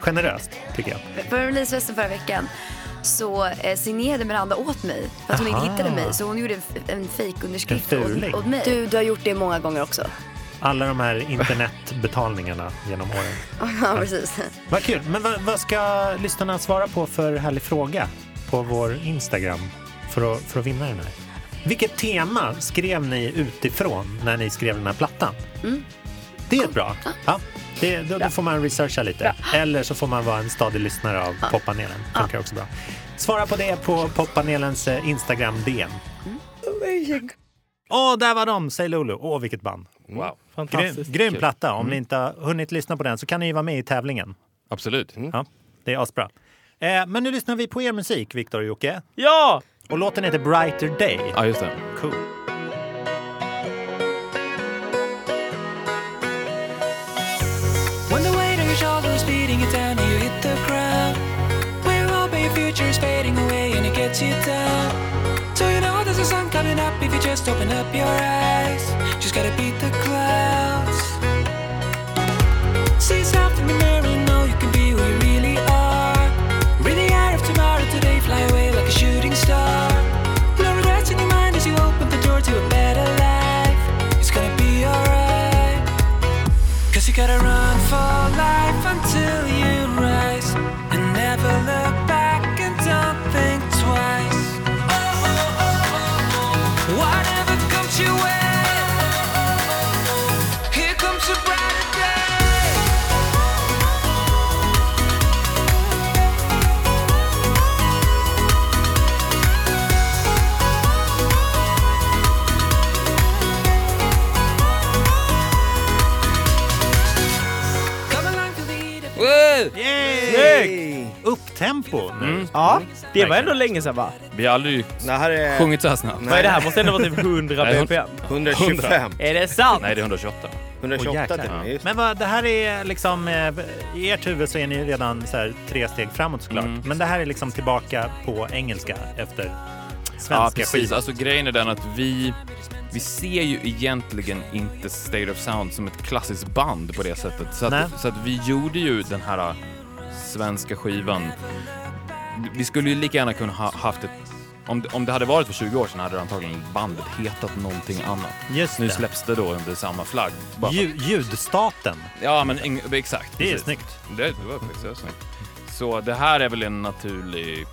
A: Generöst, tycker jag.
H: På releasefesten förra veckan så eh, signerade Miranda åt mig för att hon
A: Aha.
H: inte hittade mig. Så hon gjorde en, f- en fejkunderskrift
A: En fuling.
H: åt, åt mig. Du, du har gjort det många gånger också.
A: Alla de här internetbetalningarna genom åren.
H: ja, precis.
A: Vad kul. Men vad, vad ska lyssnarna svara på för härlig fråga på vår Instagram för att, för att vinna den här? Vilket tema skrev ni utifrån när ni skrev den här plattan? Det är bra. Ja. Det, då, då får man researcha lite. Eller så får man vara en stadig lyssnare av poppanelen. Funkar också bra. Svara på det på poppanelens eh, Instagram-DM. Åh, där var de! Säg Lulu. Åh, vilket band.
C: Mm.
D: Wow.
A: Grym,
B: Fantastiskt.
A: grym platta. Om ni inte har hunnit lyssna på den så kan ni ju vara med i tävlingen.
D: Absolut.
B: Mm.
A: Ja, det är asbra. Eh, men nu lyssnar vi på er musik, Viktor och Jocke.
B: Ja!
A: Och låten heter Brighter Day.
D: Ja, just det.
A: Cool.
F: beneath the clouds. See yourself in the mirror and know you can be who you really are. Read the eye of tomorrow today, fly away like a shooting star. No regrets in your mind as you open the door to a better life. It's gonna be alright. Cause you gotta run for life until you rise. And never look back and don't think twice. Oh, oh, oh, oh, oh. Whatever comes your way. Here comes a brighter day. Come along to the
A: Yay! Upptempo nu.
D: Mm.
B: Ja, det var ändå länge sedan va?
D: Vi har aldrig
C: Det här är
D: sjungit så här snabbt.
B: Vad är det här? Måste ändå vara typ 100
D: Nej, hon-
B: bpm.
C: 125.
B: Är det sant?
D: Nej, det är 128.
C: 128 till
A: jäklar.
C: och med, just.
A: Men vad, det här är liksom, eh, i ert huvud så är ni redan så här, tre steg framåt såklart.
D: Mm.
A: Men det här är liksom tillbaka på engelska efter
D: Ja,
A: svenska
D: precis.
A: skivor.
D: Alltså grejen är den att vi, vi ser ju egentligen inte State of Sound som ett klassiskt band på det sättet. Så
A: Nej.
D: att, så att vi gjorde ju den här äh, svenska skivan. Vi skulle ju lika gärna kunna ha haft ett om det, om det hade varit för 20 år sedan hade det antagligen bandet hetat någonting annat.
A: Just
D: nu
A: det.
D: släpps det då under samma flagg. Bara för-
A: Ljud, ljudstaten,
D: Ja, men ing- exakt.
A: det är
D: precis.
A: snyggt.
D: Det, det var faktiskt det snyggt. Så det här är väl en naturlig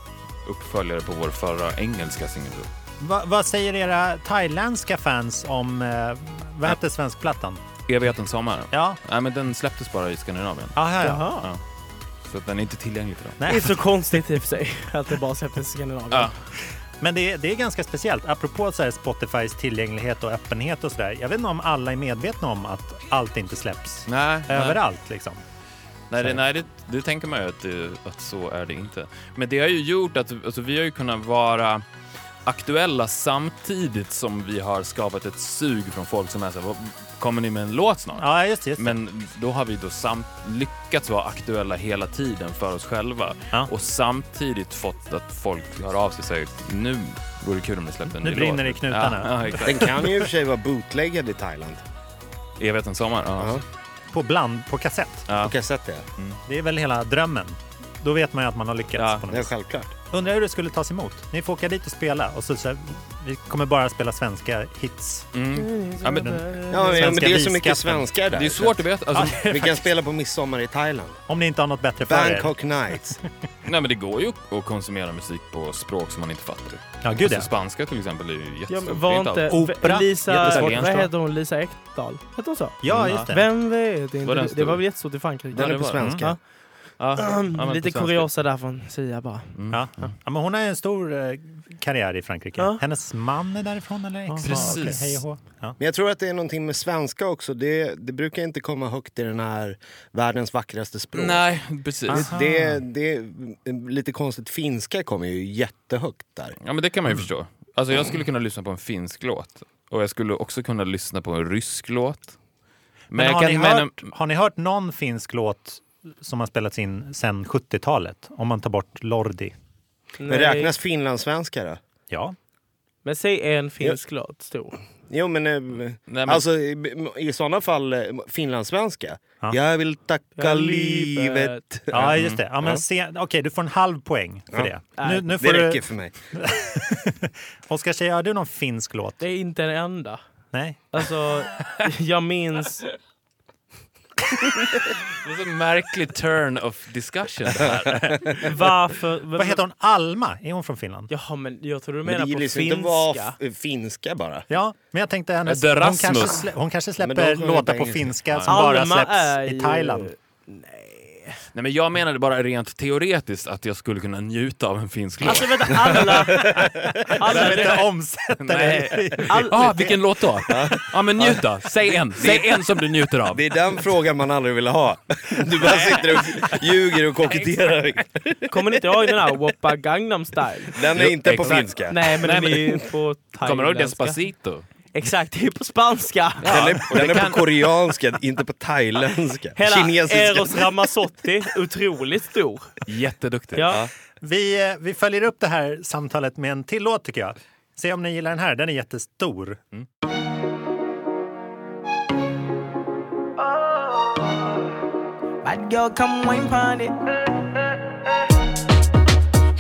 D: uppföljare på vår förra engelska singel. då.
A: Va, vad säger era thailändska fans om, eh, vad hette svenskplattan?
D: Evigheten sommar.
A: Ja,
D: Nej, men den släpptes bara i Skandinavien.
A: Aha, ja.
B: Jaha.
D: Så att den är inte tillgänglig för dem.
B: Det är så konstigt i och för sig att det bara släpptes i Skandinavien.
D: Ja.
A: Men det, är- det är ganska speciellt, apropå så här Spotifys tillgänglighet och öppenhet och sådär. Jag vet inte om alla är medvetna om att allt inte släpps
D: Nej, nej,
A: överallt liksom.
D: nej, det, nej det, det tänker man ju att, det- att så är det inte. Men det har ju gjort att alltså, vi har ju kunnat vara aktuella samtidigt som vi har skapat ett sug från folk som är så här, "Vad- kommer ni med en låt snart?
A: Ja, just det. Just. det.
D: Men då har vi då samt lyckats vara aktuella hela tiden för oss själva
A: Ja.
D: och samtidigt fått att folk hör av sig och säger nu vore det kul om ni släppte en
A: Nu
D: ny låt.
A: brinner det i knutarna.
D: Ja, ja, exakt.
C: Den kan ju i och för sig vara bootleggad i Thailand.
D: Evigheten sommar. Ja.
C: Ja.
A: På bland, på kassett.
D: Ja.
C: På kassett ja.
A: Det är väl hela drömmen. Då vet man ju att man har lyckats.
D: Ja.
A: På något
C: Det är
A: vis.
C: självklart.
D: Mm.
A: Undrar hur det skulle tas emot. Ni får åka dit och spela och så, så här, vi kommer bara spela svenska hits.
D: Mm. Ja, men, det
C: Ja, men,
A: Svenska
C: det är så
A: visskatten.
C: mycket svenskar där.
D: är svårt att veta. Alltså,
C: Vi kan spela på midsommar i Thailand.
A: Om ni inte har något bättre för er.
C: Bangkok
D: <laughs>
C: Nights.
D: Nej, men det går ju att konsumera musik på språk som man inte fattar.
A: Ja, gud ja.
D: alltså, spanska till exempel är ju jättestort.
B: Ja, men
D: Det
B: var
D: är allt.
B: inte
A: Opera.
B: Lisa,
D: Jättesvårt.
B: vad heter hon? Lisa Ekdahl? Hette hon så? Mm.
A: Ja, just det.
B: Vem vet
D: Var
B: inte.
D: den
B: Det,
D: stor?
B: var väl jättestort i Frankrike?
C: Den
D: det
C: är på
D: var den.
C: svenska.
B: Ja.
D: Ja. Ja, men på
B: Lite
D: svenska.
B: kuriosa där från Sia bara.
A: Ja. Ja, men hon har ju en stor eh, karriär i Frankrike.
B: Ja.
A: Hennes man är därifrån eller ex?
D: Precis.
A: Okej, hej och hå. Ja.
C: Men jag tror att det är någonting med svenska också. Det, det brukar inte komma högt i den här världens vackraste språk.
D: Nej, precis.
C: Det, det är lite konstigt. Finska kommer ju jättehögt där.
D: Ja, men det kan man ju förstå. Alltså, jag skulle kunna lyssna på en finsk låt och jag skulle också kunna lyssna på en rysk låt. Men,
A: Men,
D: jag
A: har,
D: kan,
A: ni
D: men-
A: hört, har ni hört någon finsk låt som har spelats in sen 70-talet? Om man tar bort Lordi.
C: Men räknas finlandssvenska då?
A: Ja.
B: Men säg en finsk låt stor.
C: Jo men, eh,
D: men-
C: alltså i, i sådana fall eh, finlandssvenska.
A: Ja.
C: Jag vill tacka
B: Ja,
C: livet.
B: livet.
A: Ja, just det. Ja, men se, okej, du får en halv poäng för det. Nu, nu
C: Det
A: får
C: räcker
A: du,
C: för mig.
A: Oskar Tjej, har du någon finsk låt?
B: Det är inte en enda.
A: Nej?
B: Alltså, jag minns...
D: det är så märklig turn of discussion det här.
B: Varför...
A: Vad heter hon? Alma? Är hon från Finland?
B: Jaha, men jag tror du
C: Men det
B: menar
C: gillar
B: på
C: ju inte att vara
B: finska.
C: f- eh, finska bara.
A: Ja, men jag tänkte hennes...
D: The
A: Hon
D: Rasmus.
A: kanske, slä, hon kanske
C: Men de
A: släpper
C: sjunger
A: låtar
C: på
A: på
C: engelska.
A: finska som bara
B: Alma är
A: släpps i
B: ju- <laughs>
A: Thailand.
D: Nej, men jag menade bara rent teoretiskt att jag skulle kunna njuta av en finsk låt.
B: Alltså vänta,
C: <laughs>
B: alla... alla
A: Inte
D: <laughs>
A: omsätta
D: Nej.
A: det.
B: all,
D: Ah, vilken låt då? Ja, men njut då. Säg en. Säg en som du njuter av.
C: Det är den frågan man aldrig ville ha. Du bara sitter och ljuger och koketterar.
B: Kommer ni inte ihåg den där Woppa Gangnam style?
C: Den är
D: Jo,
C: inte på
D: exakt.
C: finska.
B: Nej men
D: Nej,
B: den
D: men-
B: är ju på thailändska.
D: Kommer du ihåg Despacito?
B: Exakt, det är på spanska.
C: Den är, den är på koreanska, inte på thailändska.
B: Hela
C: Kinesiska.
B: Eros Ramazzotti, otroligt stor.
D: Jätteduktig.
B: Ja.
A: Vi, eh, vi följer upp det här samtalet med en till låt tycker jag. Se om ni gillar den här, den är jättestor.
F: Bad girl, come wine pon it.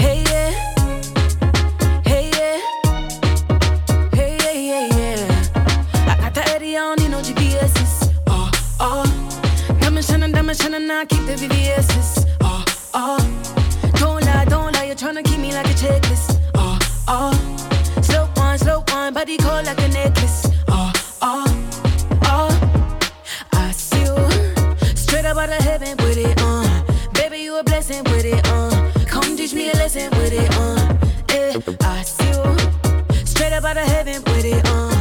I: Hey
G: eh.
I: yeah, hey yeah, hey yeah yeah yeah. I got the Eddie on, you know GPS's. Oh oh, diamond shining, diamond shining, I keep the VVS's. Oh oh, don't lie, don't lie, you're tryna keep me like a checklist. Oh oh, slow wine, slow wine, body cold like a necklace. Oh oh, oh, I see you straight up out of heaven with it on. Baby, you a blessing with it on. Come teach me a lesson with it on. Yeah, I see you straight up out of heaven with it on.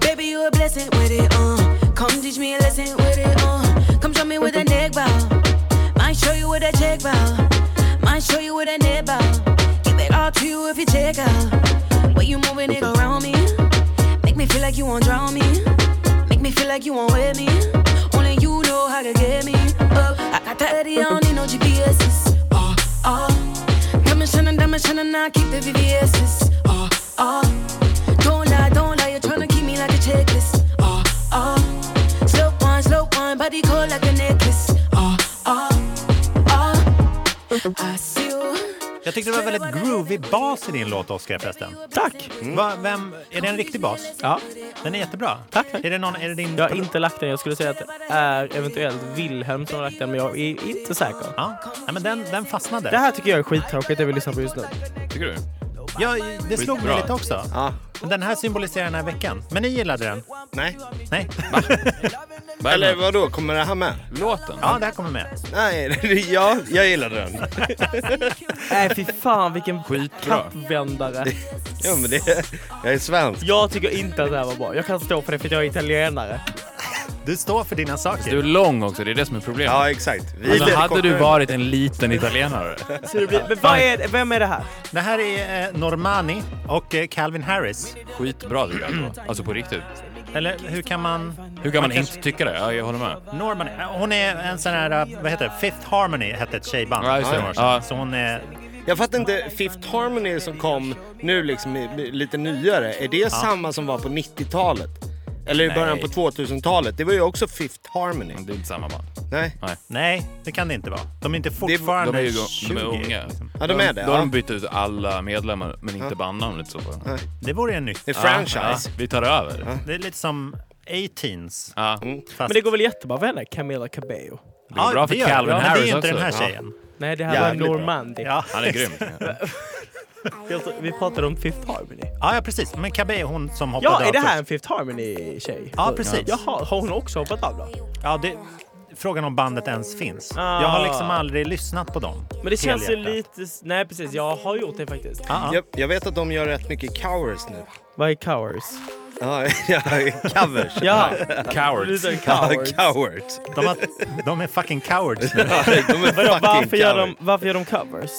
I: Baby, you a blessing with it on. Come teach me a lesson with it on. Come show me with a neck bow. Might show you with a check bow. Might show you with a neck bow. Give it all to you if you check out. Way you moving it around me. Make me feel like you won't drown me. Make me feel like you won't wear me. Only you know how to get me up. I got that Eddie, I don't need no GPS's. Oh, oh. Diamond shining, diamond shining, I keep the VVS's. Oh, oh. Don't lie, don't lie, you're tryna keep me like a checklist. Oh, oh. Slow wine, slow wine, body cold like a necklace. Oh, oh, oh. I see you.
A: Jag tyckte det var väldigt groovy bas i din låt, Oscar, förresten.
B: Tack!
D: Mm.
A: Va, vem, är det en riktig bas?
B: Ja,
A: Den är jättebra.
B: Tack, tack.
A: Är det, någon, är det din...
B: jag har inte lagt den. Jag skulle säga att det är eventuellt Wilhelm som har lagt den, men jag är inte säker.
A: Ja, Nej, men den, den fastnade.
B: Det här tycker jag är skittråkigt, det vi lyssnar på just nu.
D: Tycker du?
A: Ja, det slog mig
D: Skitbra.
A: lite också. Den här symboliserar den här veckan. Men ni gillade den?
C: Nej.
A: Nej?
D: Vad är
C: Eller
D: den?
C: vadå, kommer det här med?
D: Låten?
A: Ja, det här kommer med.
C: Nej, <laughs> ja, jag gillade den.
B: Nej, fy fan vilken
D: Skitbra.
B: kappvändare.
C: Ja, men det, jag är svensk.
B: Jag tycker inte att det här var bra. Jag kan stå för det för att jag är italienare.
A: Du står för dina saker.
D: Du är lång också, det är det som är problemet.
C: Ja, exakt. Vi
D: Alltså, hade du
C: kommer-
D: varit en liten italienare?
B: Så det blir, men vad är, vem är det här?
A: Det här är eh, Normani och eh, Calvin Harris.
D: Skitbra tycker jag. ändå. Alltså på riktigt.
A: Eller hur kan man...
D: Hur kan man inte tycka det? Ja, jag håller med.
A: Normani, eh, hon är en sån här, eh, vad heter det, Fifth Harmony hette ett tjejband.
D: Ja, just det.
A: för några år
D: Ja.
A: sedan. Så hon är...
C: Jag fattar inte, Fifth Harmony som kom nu liksom i- i- lite nyare, är det samma som var på 90-talet? Eller i början på 2000-talet? Det var ju också Fifth Harmony.
D: Det är inte samma band.
C: Nej.
A: Nej, det kan det inte vara. De är inte fortfarande
D: De är ju de
A: 20.
D: är unga.
C: Ja, de är det,
D: Då
C: ja.
D: har de bytt ut alla medlemmar, men inte bandnamnet så bara.
A: Det vore ju nytt.
C: Det är
D: Ja,
C: franchise.
D: vi tar över.
A: Det är lite som 18s.
D: Ja.
B: Men det går väl jättebra för henne? Camila Cabello.
D: Det går bra för
A: gör det.
D: Calvin
A: men
D: Harris
A: det är ju inte
D: också.
A: den här
D: Ja.
A: tjejen.
B: Nej, det här
C: Jävligt
B: var
C: bra.
B: Normandi.
A: Ja.
D: Han är grym.
B: Jag tror- Vi pratade om Fifth Harmony.
A: Ja, ja, precis. Men Kabe är hon som hoppade
B: Ja,
A: av
B: är det här
A: först.
B: en Fifth Harmony-tjej?
A: Ja, precis.
B: Jaha, har hon också hoppat av då?
A: Ja, det... Frågan om bandet ens finns.
B: Ah.
A: Jag har liksom aldrig lyssnat på dem.
B: Men det känns ju
A: Helhjärtat.
B: lite... Nej, precis. Jag har gjort det faktiskt.
A: Ja, ja.
C: Jag, jag vet att de gör rätt mycket covers nu.
B: Vad är covers?
C: Ja, <laughs> ja, covers.
B: Ja,
D: Cowards.
B: lite
C: Ja,
B: cowards.
C: cowards.
A: De, har, de är fucking
D: <laughs>
A: cowards nu.
C: Ja, de är
B: Vadå,
C: fucking
B: varför gör, de,
C: cowards.
B: varför gör de covers?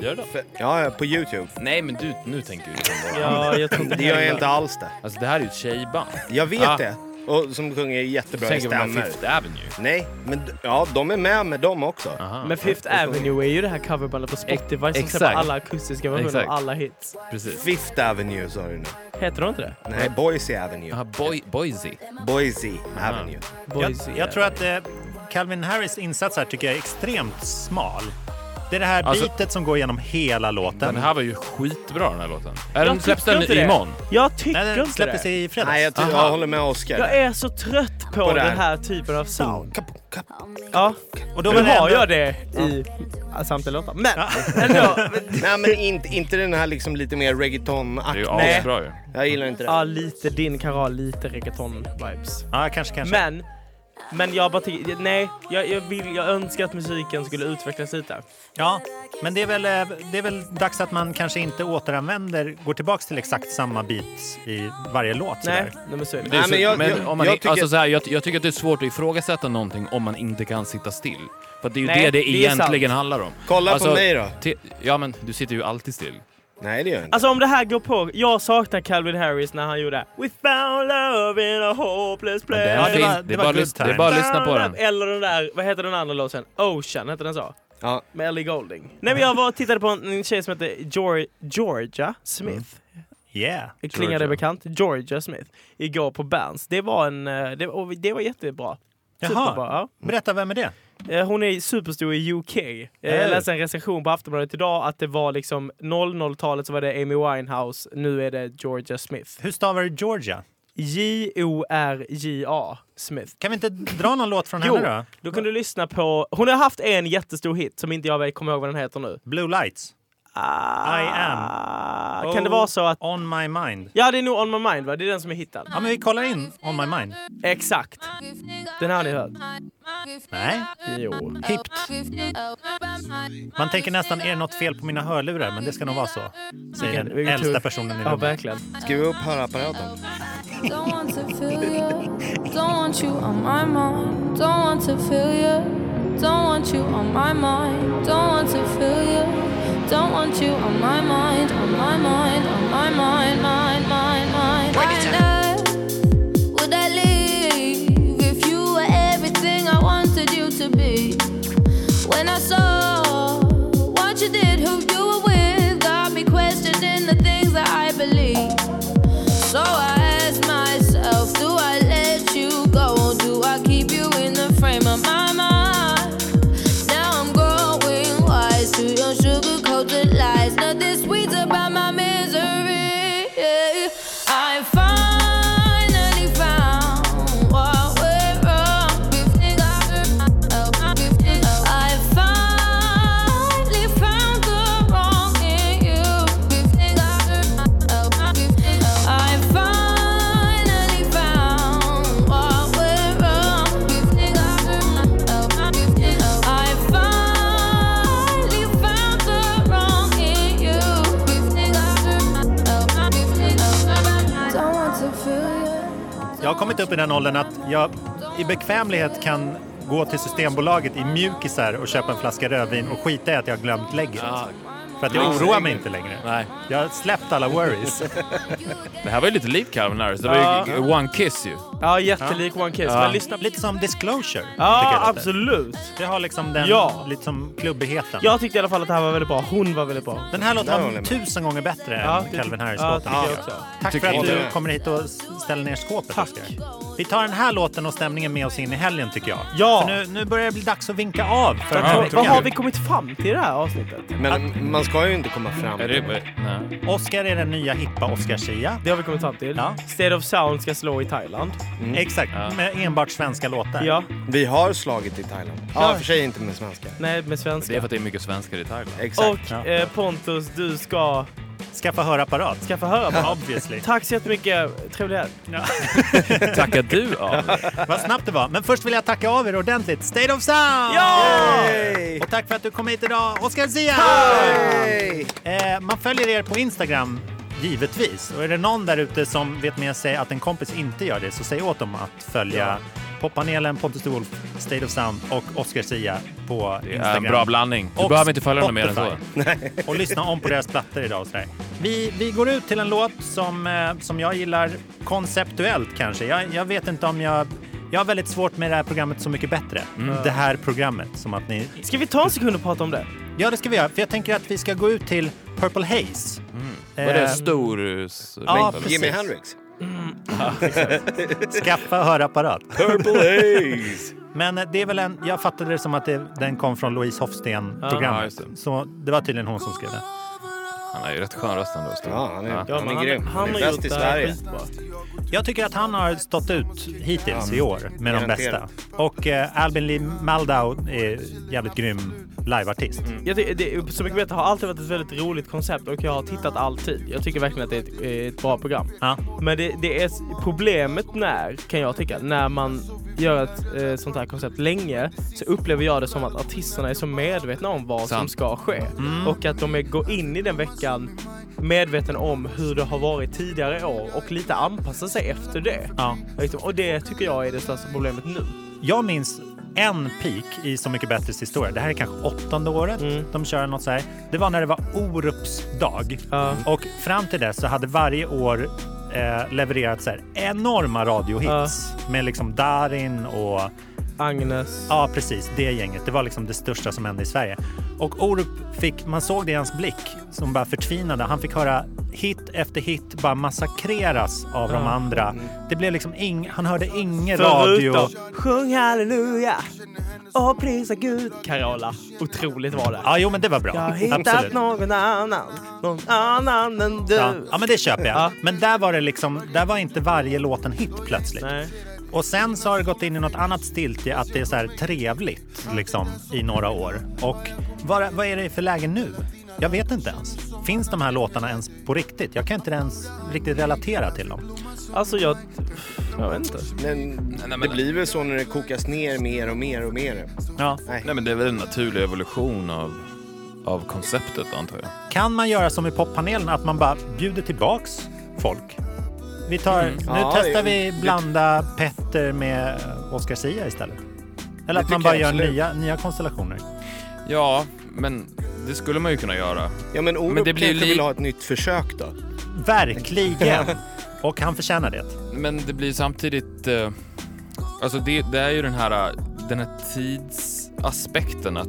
D: Gör det.
C: Ja, ja, på YouTube.
D: Nej, men du, nu tänker du liksom bara.
B: Ja, jag tror inte
C: Det gör jag
B: heller.
C: inte alls det.
D: Alltså det här är ju ett tjejband.
C: Jag vet
D: Ja.
C: det. Och som sjunger
D: Du
C: jättebra i
D: tänker på
C: stämmor.
D: Fifth Avenue.
C: Nej, men d- ja, de är med med dem också.
B: Men Fifth Avenue är ju det här coverbandet på Spotify som
D: Exakt.
B: släpper alla akustiska versioner
D: Exakt.
B: av alla hits.
D: Precis.
C: Fifth Avenue sa du nu.
B: Heter de inte det?
C: Nej, Boise Avenue.
D: Jaha, boy, Boise.
C: Boise Avenue.
A: Jag,
B: Boys
A: jag tror att eh, Calvin Harris insats här tycker jag är extremt smal. Det är det här
D: Alltså-
A: bitet som går igenom hela låten.
D: Den här var ju skitbra den här låten. Är
B: Jag
D: den släpps
B: tycker
D: den
B: inte det.
D: imorgon?
B: Jag tycker
A: Nej, den
B: inte
A: släpptes
B: det.
A: i fredags.
C: Nej, jag, ty- jag håller med Oscar.
B: Jag är så trött på,
C: På det här.
B: den här typen av sound.
C: Kap- kap-
B: Ja,
A: Och då
B: då
A: var det
B: har
A: ändå-
B: jag det i ja, samtliga låtar. <laughs> Men ändå.
C: <laughs> Nej, men inte, inte den här liksom lite mer
D: Det är ju
C: reggaeton-aktiga.
B: Nej.
D: asbra ju.
C: Jag gillar inte det.
B: Ja, lite din kan ha lite reggaeton-vibes.
A: Ja, kanske, kanske.
B: Men, men jag bara tycker, nej, jag, jag, vill, jag önskar att musiken skulle utvecklas lite.
A: Ja, men det är, väl, eh, det är väl dags att man kanske inte återanvänder, går tillbaks till exakt samma bit i varje låt.
B: Nej,
A: sådär.
B: nej men så är det.
D: Det är
C: Nej,
D: så,
C: men jag-
D: men
C: jag-
D: om man,
C: jag
D: är-
C: tycker-
D: alltså så här, jag, jag tycker att det är svårt att ifrågasätta någonting om man inte kan sitta still. För det är ju
B: Nej,
D: det det
B: det är
D: egentligen
B: sant.
D: handlar om.
C: Kolla på
D: Alltså,
C: mig då.
D: te- ja men du sitter ju alltid still.
C: Nej, det gör jag inte.
B: Alltså om det här går på, jag saknar Calvin Harris när han gjorde We found love in a hopeless place.
D: Den
A: Ja, det
D: finns-
A: var- det
D: är
A: var
D: bara
A: good
D: lyssna- det
A: times.
D: är bara att lyssna på den.
B: Eller den där, vad heter den andra låten? Ocean, heter den så?
C: Ja.
B: Med Ellie Golding. Nej men jag var och tittade på en, en tjej som hette Geor- Georgia Smith.
A: Yeah.
B: Klingar det
D: Georgia.
B: bekant? Georgia Smith. Igår på Berns. Det var en, eh, det, och det var jättebra. Superbra. Ja.
A: Jaha, berätta vem är det?
B: Eh, Hon är superstor i UK. Eh, Jag
A: Hey.
B: läste en recension på Aftonbladet idag att det var liksom 00-talet så var det Amy Winehouse, nu är det Georgia Smith.
A: Hur stavar du Georgia?
B: J-O-R-J-A Smith.
A: Kan vi inte dra någon låt från
B: Jo,
A: henne då?
B: då kan du lyssna på... Hon har haft en jättestor hit som inte jag vet- kommer ihåg vad den heter nu.
A: Blue Lights. I am. Oh.
B: Ah, Kan det vara så att...
A: On my mind.
B: Ja, det är nog On My Mind va? Det är den som är hittad.
A: Ja, men vi kollar in On my mind.
B: Exakt. Den här har ni hört.
A: Nej,
B: Jo.
A: hippt. Man tänker nästan, är det något fel på mina hörlurar? Men det ska nog vara så. Säger
B: Vilken-
A: den
B: vilken tur.
A: äldsta personen i
B: Ja,
A: rummet.
B: verkligen.
C: Skruva upp hörapparaten.
E: Don't want to feel you. Don't want you on my mind. Don't want to feel you. Don't want you on my mind. Don't want to feel you. Don't want you on my mind. On my mind. On my mind. Mind. Mind. Mind. Why not? Would I leave if you were everything I wanted you to be? When I saw what you did, who you were with, got me questioning the things that I believe. So I ask myself, do I let you go? Do I keep you in the frame of my mind? Now I'm growing wise to your sugar-coated lies. Nothing sweet about my misery. I finally found what went wrong. Everything I- I finally found the wrong in you. Everything I- I finally found what went wrong. I finally found the wrong in you. Don't want to feel you.
A: Jag har kommit upp i den åldern att jag i bekvämlighet kan gå till Systembolaget i mjukisar och köpa en flaska rödvin och skita i att jag har glömt lägget. För att det oroar mig inte längre.
D: Nej.
A: Jag har släppt
B: <laughs>
A: alla worries.
D: Det här var ju lite likt Calvin Harris. Det var ju One Kiss ju.
B: Ja, jättelik One Kiss. Men lyssna på...
A: Lite som Disclosure. tycker jag
B: Ja,
A: det heter.
B: absolut.
A: Det har liksom den
B: Ja.
A: lite som klubbigheten.
B: Jag tyckte i alla fall att det här var väldigt bra. Hon var väldigt bra.
A: Den här låten
C: Där håller
A: var
C: jag
A: tusen gånger bättre
B: Ja,
A: än
B: det-
A: Calvin
B: Ja,
A: Harris-låten.
B: tycker jag också.
A: Tack
C: Tycker
A: för att
C: inte
A: du
C: det.
A: kommer hit och s- ställer ner skåpet,
B: Tack.
A: Oskar. Vi tar den här låten och stämningen med oss in i helgen, tycker jag.
B: Ja.
A: För Nu, nu börjar det bli dags att vinka av för den här
B: Vad, vad har vi
A: veckan.
B: kommit fram till i det här avsnittet?
C: Men man ska ju inte komma fram.
D: Är det, nej.
A: Oskar är den nya hippa Oskar-Sia.
B: Det har vi kommit fram till.
A: Ja.
B: State of Sound ska slå i Thailand.
D: Mm.
A: Exakt, med enbart svenska låtar.
B: Ja,
C: Vi har slagit i Thailand. Ja, i och för sig inte med svenska.
B: nej med
D: det är
B: svenska.
D: för att det är mycket svenskar i Thailand.
C: <laughs> Exakt.
B: Och eh, Pontus, du ska
A: Skaffa hörapparat. <laughs>
B: skaffa höra på.
A: Obviously.
B: Tack så jättemycket. Trevlig helg.
D: Tackar du av
A: Vad snabbt det var. Men först vill jag tacka av er ordentligt. State of Sound!
B: Ja!
C: Yay!
A: Och tack för att du kom hit idag, Oskar Zia!
C: Yay!
A: Eh, man följer er på Instagram, givetvis. Och är det någon där ute som vet med sig att en kompis inte gör det, så säg åt dem att följa poppanelen, Pontus de Wolf, State of Sound och Oskar Zia på
D: Det är
A: Instagram.
D: en bra blandning. Du
A: Och
D: behöver inte följa dem mer än så.
A: Spotify.
D: <laughs>
A: Och lyssna om på deras plattor idag och sådär. Vi, vi går ut till en låt som, eh, som jag gillar konceptuellt kanske. Jag, jag vet inte om jag... Jag har väldigt svårt med det här programmet Så mycket bättre.
D: Mm.
A: Det här programmet, som att ni...
B: Ska vi ta en sekund och prata om det?
A: Ja, det ska vi göra. För jag tänker att vi ska gå ut till Purple Haze.
D: Var Mm. det
A: Eh,
D: stor...
A: Ja,
D: mängd?
A: precis.
C: Jimi Hendrix.
A: Skaffa hörapparat.
C: Purple Haze!
A: Men eh, det är väl en... Jag fattade det som att det, den kom från Louise
D: Ja,
A: Hofsten-programmet.
D: just det.
A: Så det var tydligen hon som skrev den.
D: Han har ju rätt skön röst ändå. Stor.
C: Ja, han är,
B: Ja,
C: han
B: men
C: är grym. Han, är bäst i Sverige.
B: skitbra.
A: Jag tycker att han har stått ut hittills i år med de bästa.
C: garanterat.
A: Och eh, Albin Lee Maldau är jävligt grym liveartist.
B: Jag tycker, det, så mycket bättre har alltid varit ett väldigt roligt koncept och jag har tittat alltid. Jag tycker verkligen att det är ett, eh, ett bra program.
A: Ja.
B: Men det, det är problemet när, kan jag tycka, när man gör ett eh, sånt här koncept länge så upplever jag det som att artisterna är så medvetna om vad som
D: Sant.
B: ska ske.
C: Mm.
B: Och att de är, går in i den veckan medveten om hur det har varit tidigare år och lite anpassar sig efter det.
A: Ja.
B: Liksom, Och det tycker jag är det största problemet nu.
A: Jag minns en peak i Så mycket bättres historia. Det här är kanske åttonde året de kör något så här. Det var när det var Orups dag.
B: Ja.
A: Och fram till dess så hade varje år eh, levererat så här enorma radiohits med liksom Darin och
B: Agnes.
A: Ja, precis. Det gänget. Det var liksom det största som hände i Sverige. Och Orup fick, man såg det i hans blick, som bara förtvinade. Han fick höra hit efter hit bara massakreras av de andra. Det blev liksom ing, han hörde ingen radio.
B: Förutom Sjung halleluja och prisa Gud. Carola. Otroligt var det.
A: Ja, jo men det var bra.
B: Jag har hittat
A: Absolut.
B: någon annan, någon annan än du.
A: Ja, ja, men det köper jag.
B: Ja.
A: Men där var det liksom, där var inte varje låt en hit plötsligt.
B: Nej.
A: Och sen så har det gått in i något annat stiltje, att det är så här trevligt liksom i några år. Och vad, vad är det för läge nu? Jag vet inte ens. Finns de här låtarna ens på riktigt? Jag kan inte ens riktigt relatera till dem.
B: Alltså jag... Jag vet inte.
C: Men det blir väl så när det kokas ner mer och mer och mer.
A: Ja.
D: Nej men det är väl en naturlig evolution av, av konceptet antar jag.
A: Kan man göra som i poppanelen, att man bara bjuder tillbaks folk? Vi tar, Nu
C: Mm. Ja,
A: testar
C: det-
A: vi blanda Petter med Oscar Sia istället. Eller
C: Det
A: att
C: tycker
A: man bara
C: jag
A: gör
C: absolut.
A: nya, nya konstellationer.
D: Ja, men det skulle man ju kunna göra.
C: Ja men Orup
D: Men det
C: kanske
D: blir li-
C: vill ha ett nytt försök då.
A: Verkligen!
C: <laughs>
A: Och han förtjänar det.
D: Men det blir samtidigt... Eh, alltså det, det är ju den här, eh, den här tidsaspekten att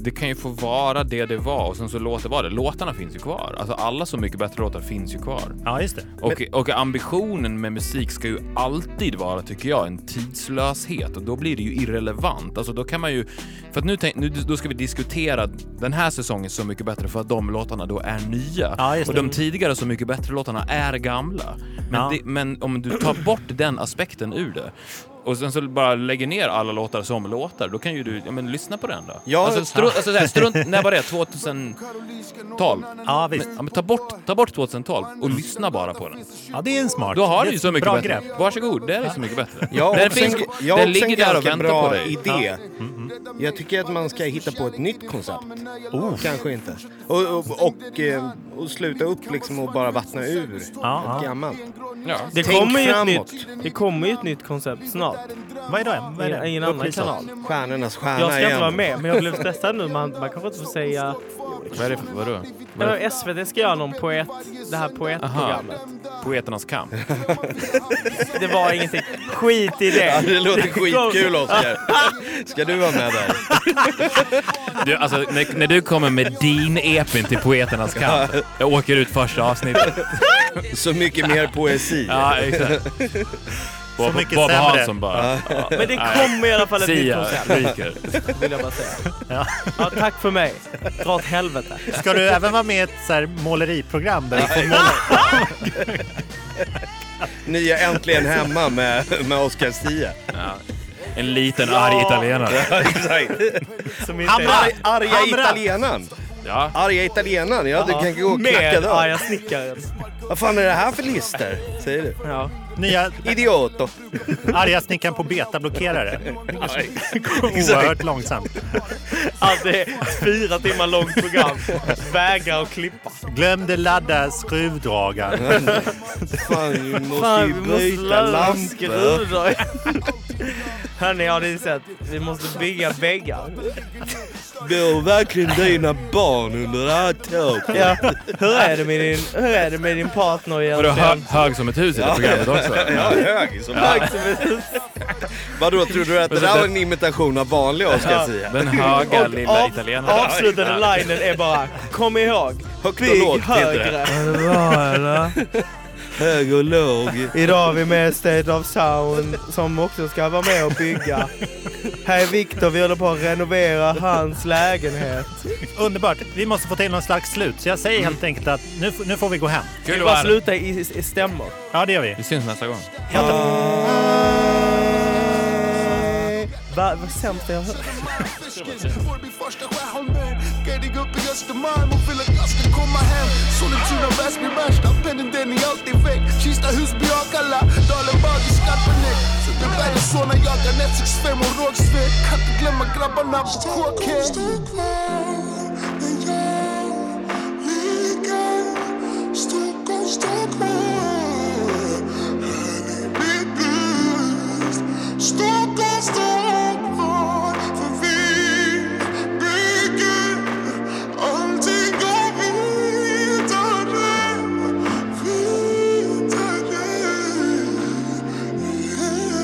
D: det kan ju få vara det det var och sen så låter det vara det. Låtarna finns ju kvar. Alltså alla Så mycket bättre låtar finns ju kvar.
A: Ja, just det.
D: Och, och ambitionen med musik ska ju alltid vara, tycker jag, en tidslöshet och då blir det ju irrelevant. Alltså då kan man ju, för att nu, tänk, nu då ska vi diskutera den här säsongen Så mycket bättre för att de låtarna då är nya
A: Ja, just
D: och
A: det.
D: de tidigare Så mycket bättre låtarna är gamla. Men,
A: Ja.
D: det, men om du tar bort den aspekten ur det och sen så bara lägger ner alla låtar som låtar, då kan ju du, ja men lyssna på den då.
C: Ja.
D: alltså, stru, alltså så här, strunt, när var det? 2012?
A: Ja, visst.
D: Men, ja, men ta, bort, ta bort 2012 och lyssna bara på den.
A: Ja, det är en smart.
D: Då har
A: det
D: du
A: är
D: ju
A: ett
D: så mycket
A: bra
D: bättre.
A: grepp.
D: Varsågod, det är så mycket bättre.
C: Jag har
D: den
C: också en-
D: finns,
C: jag har
D: den
C: också en
D: ligger där och
C: ganska
D: väntar på
C: bra
D: dig.
C: Idé. Jag tycker att man ska hitta på ett nytt koncept. Kanske inte. Och, och, och, eh, och sluta upp liksom och bara vattna ur
A: Ja,
C: ett
A: ja.
C: gammalt.
D: Ja.
B: Det
C: Tänk
B: kommer, ju ett
C: framåt.
B: nytt, det kommer ju ett nytt koncept snart.
A: Vad är det? Vad är det?
B: Ingen annan
A: Upplys oss.
B: kanal.
C: Stjärnornas stjärna
B: Jag ska inte
C: igen.
B: vara med, men jag blev stressad nu. Man, man kanske inte får säga...
D: Vad är det för, vadå? Vad är det?
B: Eller, SVT ska göra någon poet... Det här
D: Aha,
B: poetprogrammet.
D: Poeternas kamp.
B: Det var ingenting. Skit i
C: <laughs> Ja,
B: det.
C: det låter
B: kom-
C: skitkul Oskar. Ska du vara med där?
D: Du, alltså, när, när du kommer med din epin till Poeternas kamp, jag åker ut första <laughs> avsnittet.
C: Så mycket mer poesi.
D: Ja, exakt. Bob,
A: mycket
D: Bob
A: sämre.
D: Hansson bara. Ja.
B: Men det kommer i alla fall ett nytt
D: Sia
B: koncept.
D: ryker.
B: vill jag bara säga. <laughs> Ja. tack för mig. Dra åt helvete.
A: Ska du även vara med i ett så här måleriprogram? Där du får måla?
C: Nya Äntligen Hemma med, med Oscar Sia. <laughs>
D: En liten arg italienare.
C: Exakt.
B: <laughs> Som inte
C: Han
B: är-
C: arga, arga
A: Hamra.
C: italienaren.
D: Ja.
C: Arga italienaren, ja du kan gå och knacka
B: Med
C: dörr.
B: arga snickaren.
C: Vad fan är det här för lister? Säger du.
B: Ja.
A: Nya
C: Idioto.
A: arga snickaren på betablockerare. Oerhört
C: Exakt.
A: långsamt.
B: Alltså, det är ett fyra timmar långt program. Vägrar att klippa.
A: Glömde ladda skruvdragaren.
C: Fan, vi måste ju byta lampor.
B: <laughs> Hörni, har ni sett? Vi måste bygga väggar.
C: Bor verkligen dina barn under det här taket?
B: Ja. Hur, är det med din, hur är det med din partner
D: Vadå, hö,
B: egentligen?
D: hög som ett hus i det programmet också?
C: Ja, hög som hög. Vadå, tror du att det där var en imitation av vanliga Oscar Sia?
D: Den <laughs> höga
B: Och
D: lilla
B: av-
D: italienaren.
B: Avslutande linen är bara Kom ihåg,
C: Högt och lågt
B: bygg
C: heter
B: högre.
C: det.
B: Är det bra eller?
C: Hög och låg.
B: Idag har vi med State of Sound som också ska vara med och bygga. Här är Viktor, vi håller på att renovera hans lägenhet.
A: Underbart. Vi måste få till någon slags slut. Så jag säger helt enkelt att nu, f- nu får vi gå hem.
D: Kul att vara
B: Bara
D: här.
B: sluta i, i, i stämmor.
A: Ja, det gör vi.
D: Vi syns nästa gång.
B: Va, vad sämsta jag har hört.
J: Får bli första Skärholmen Guiding upp i Östermalm och vill att jag ska komma hem Sollentuna, Väsby, Märsta, pendeln den är alltid väck Kista, Husby, Akalla, Dalen, Bagis, Skarpenäck Söderberg och Solna jagar F65 och Rågsved Kan inte glömma grabbarna på kåken Stockholm, Stockholm, för vi bygger allting går vidare, vidare. Yeah.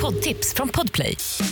G: poddtips från Podplay.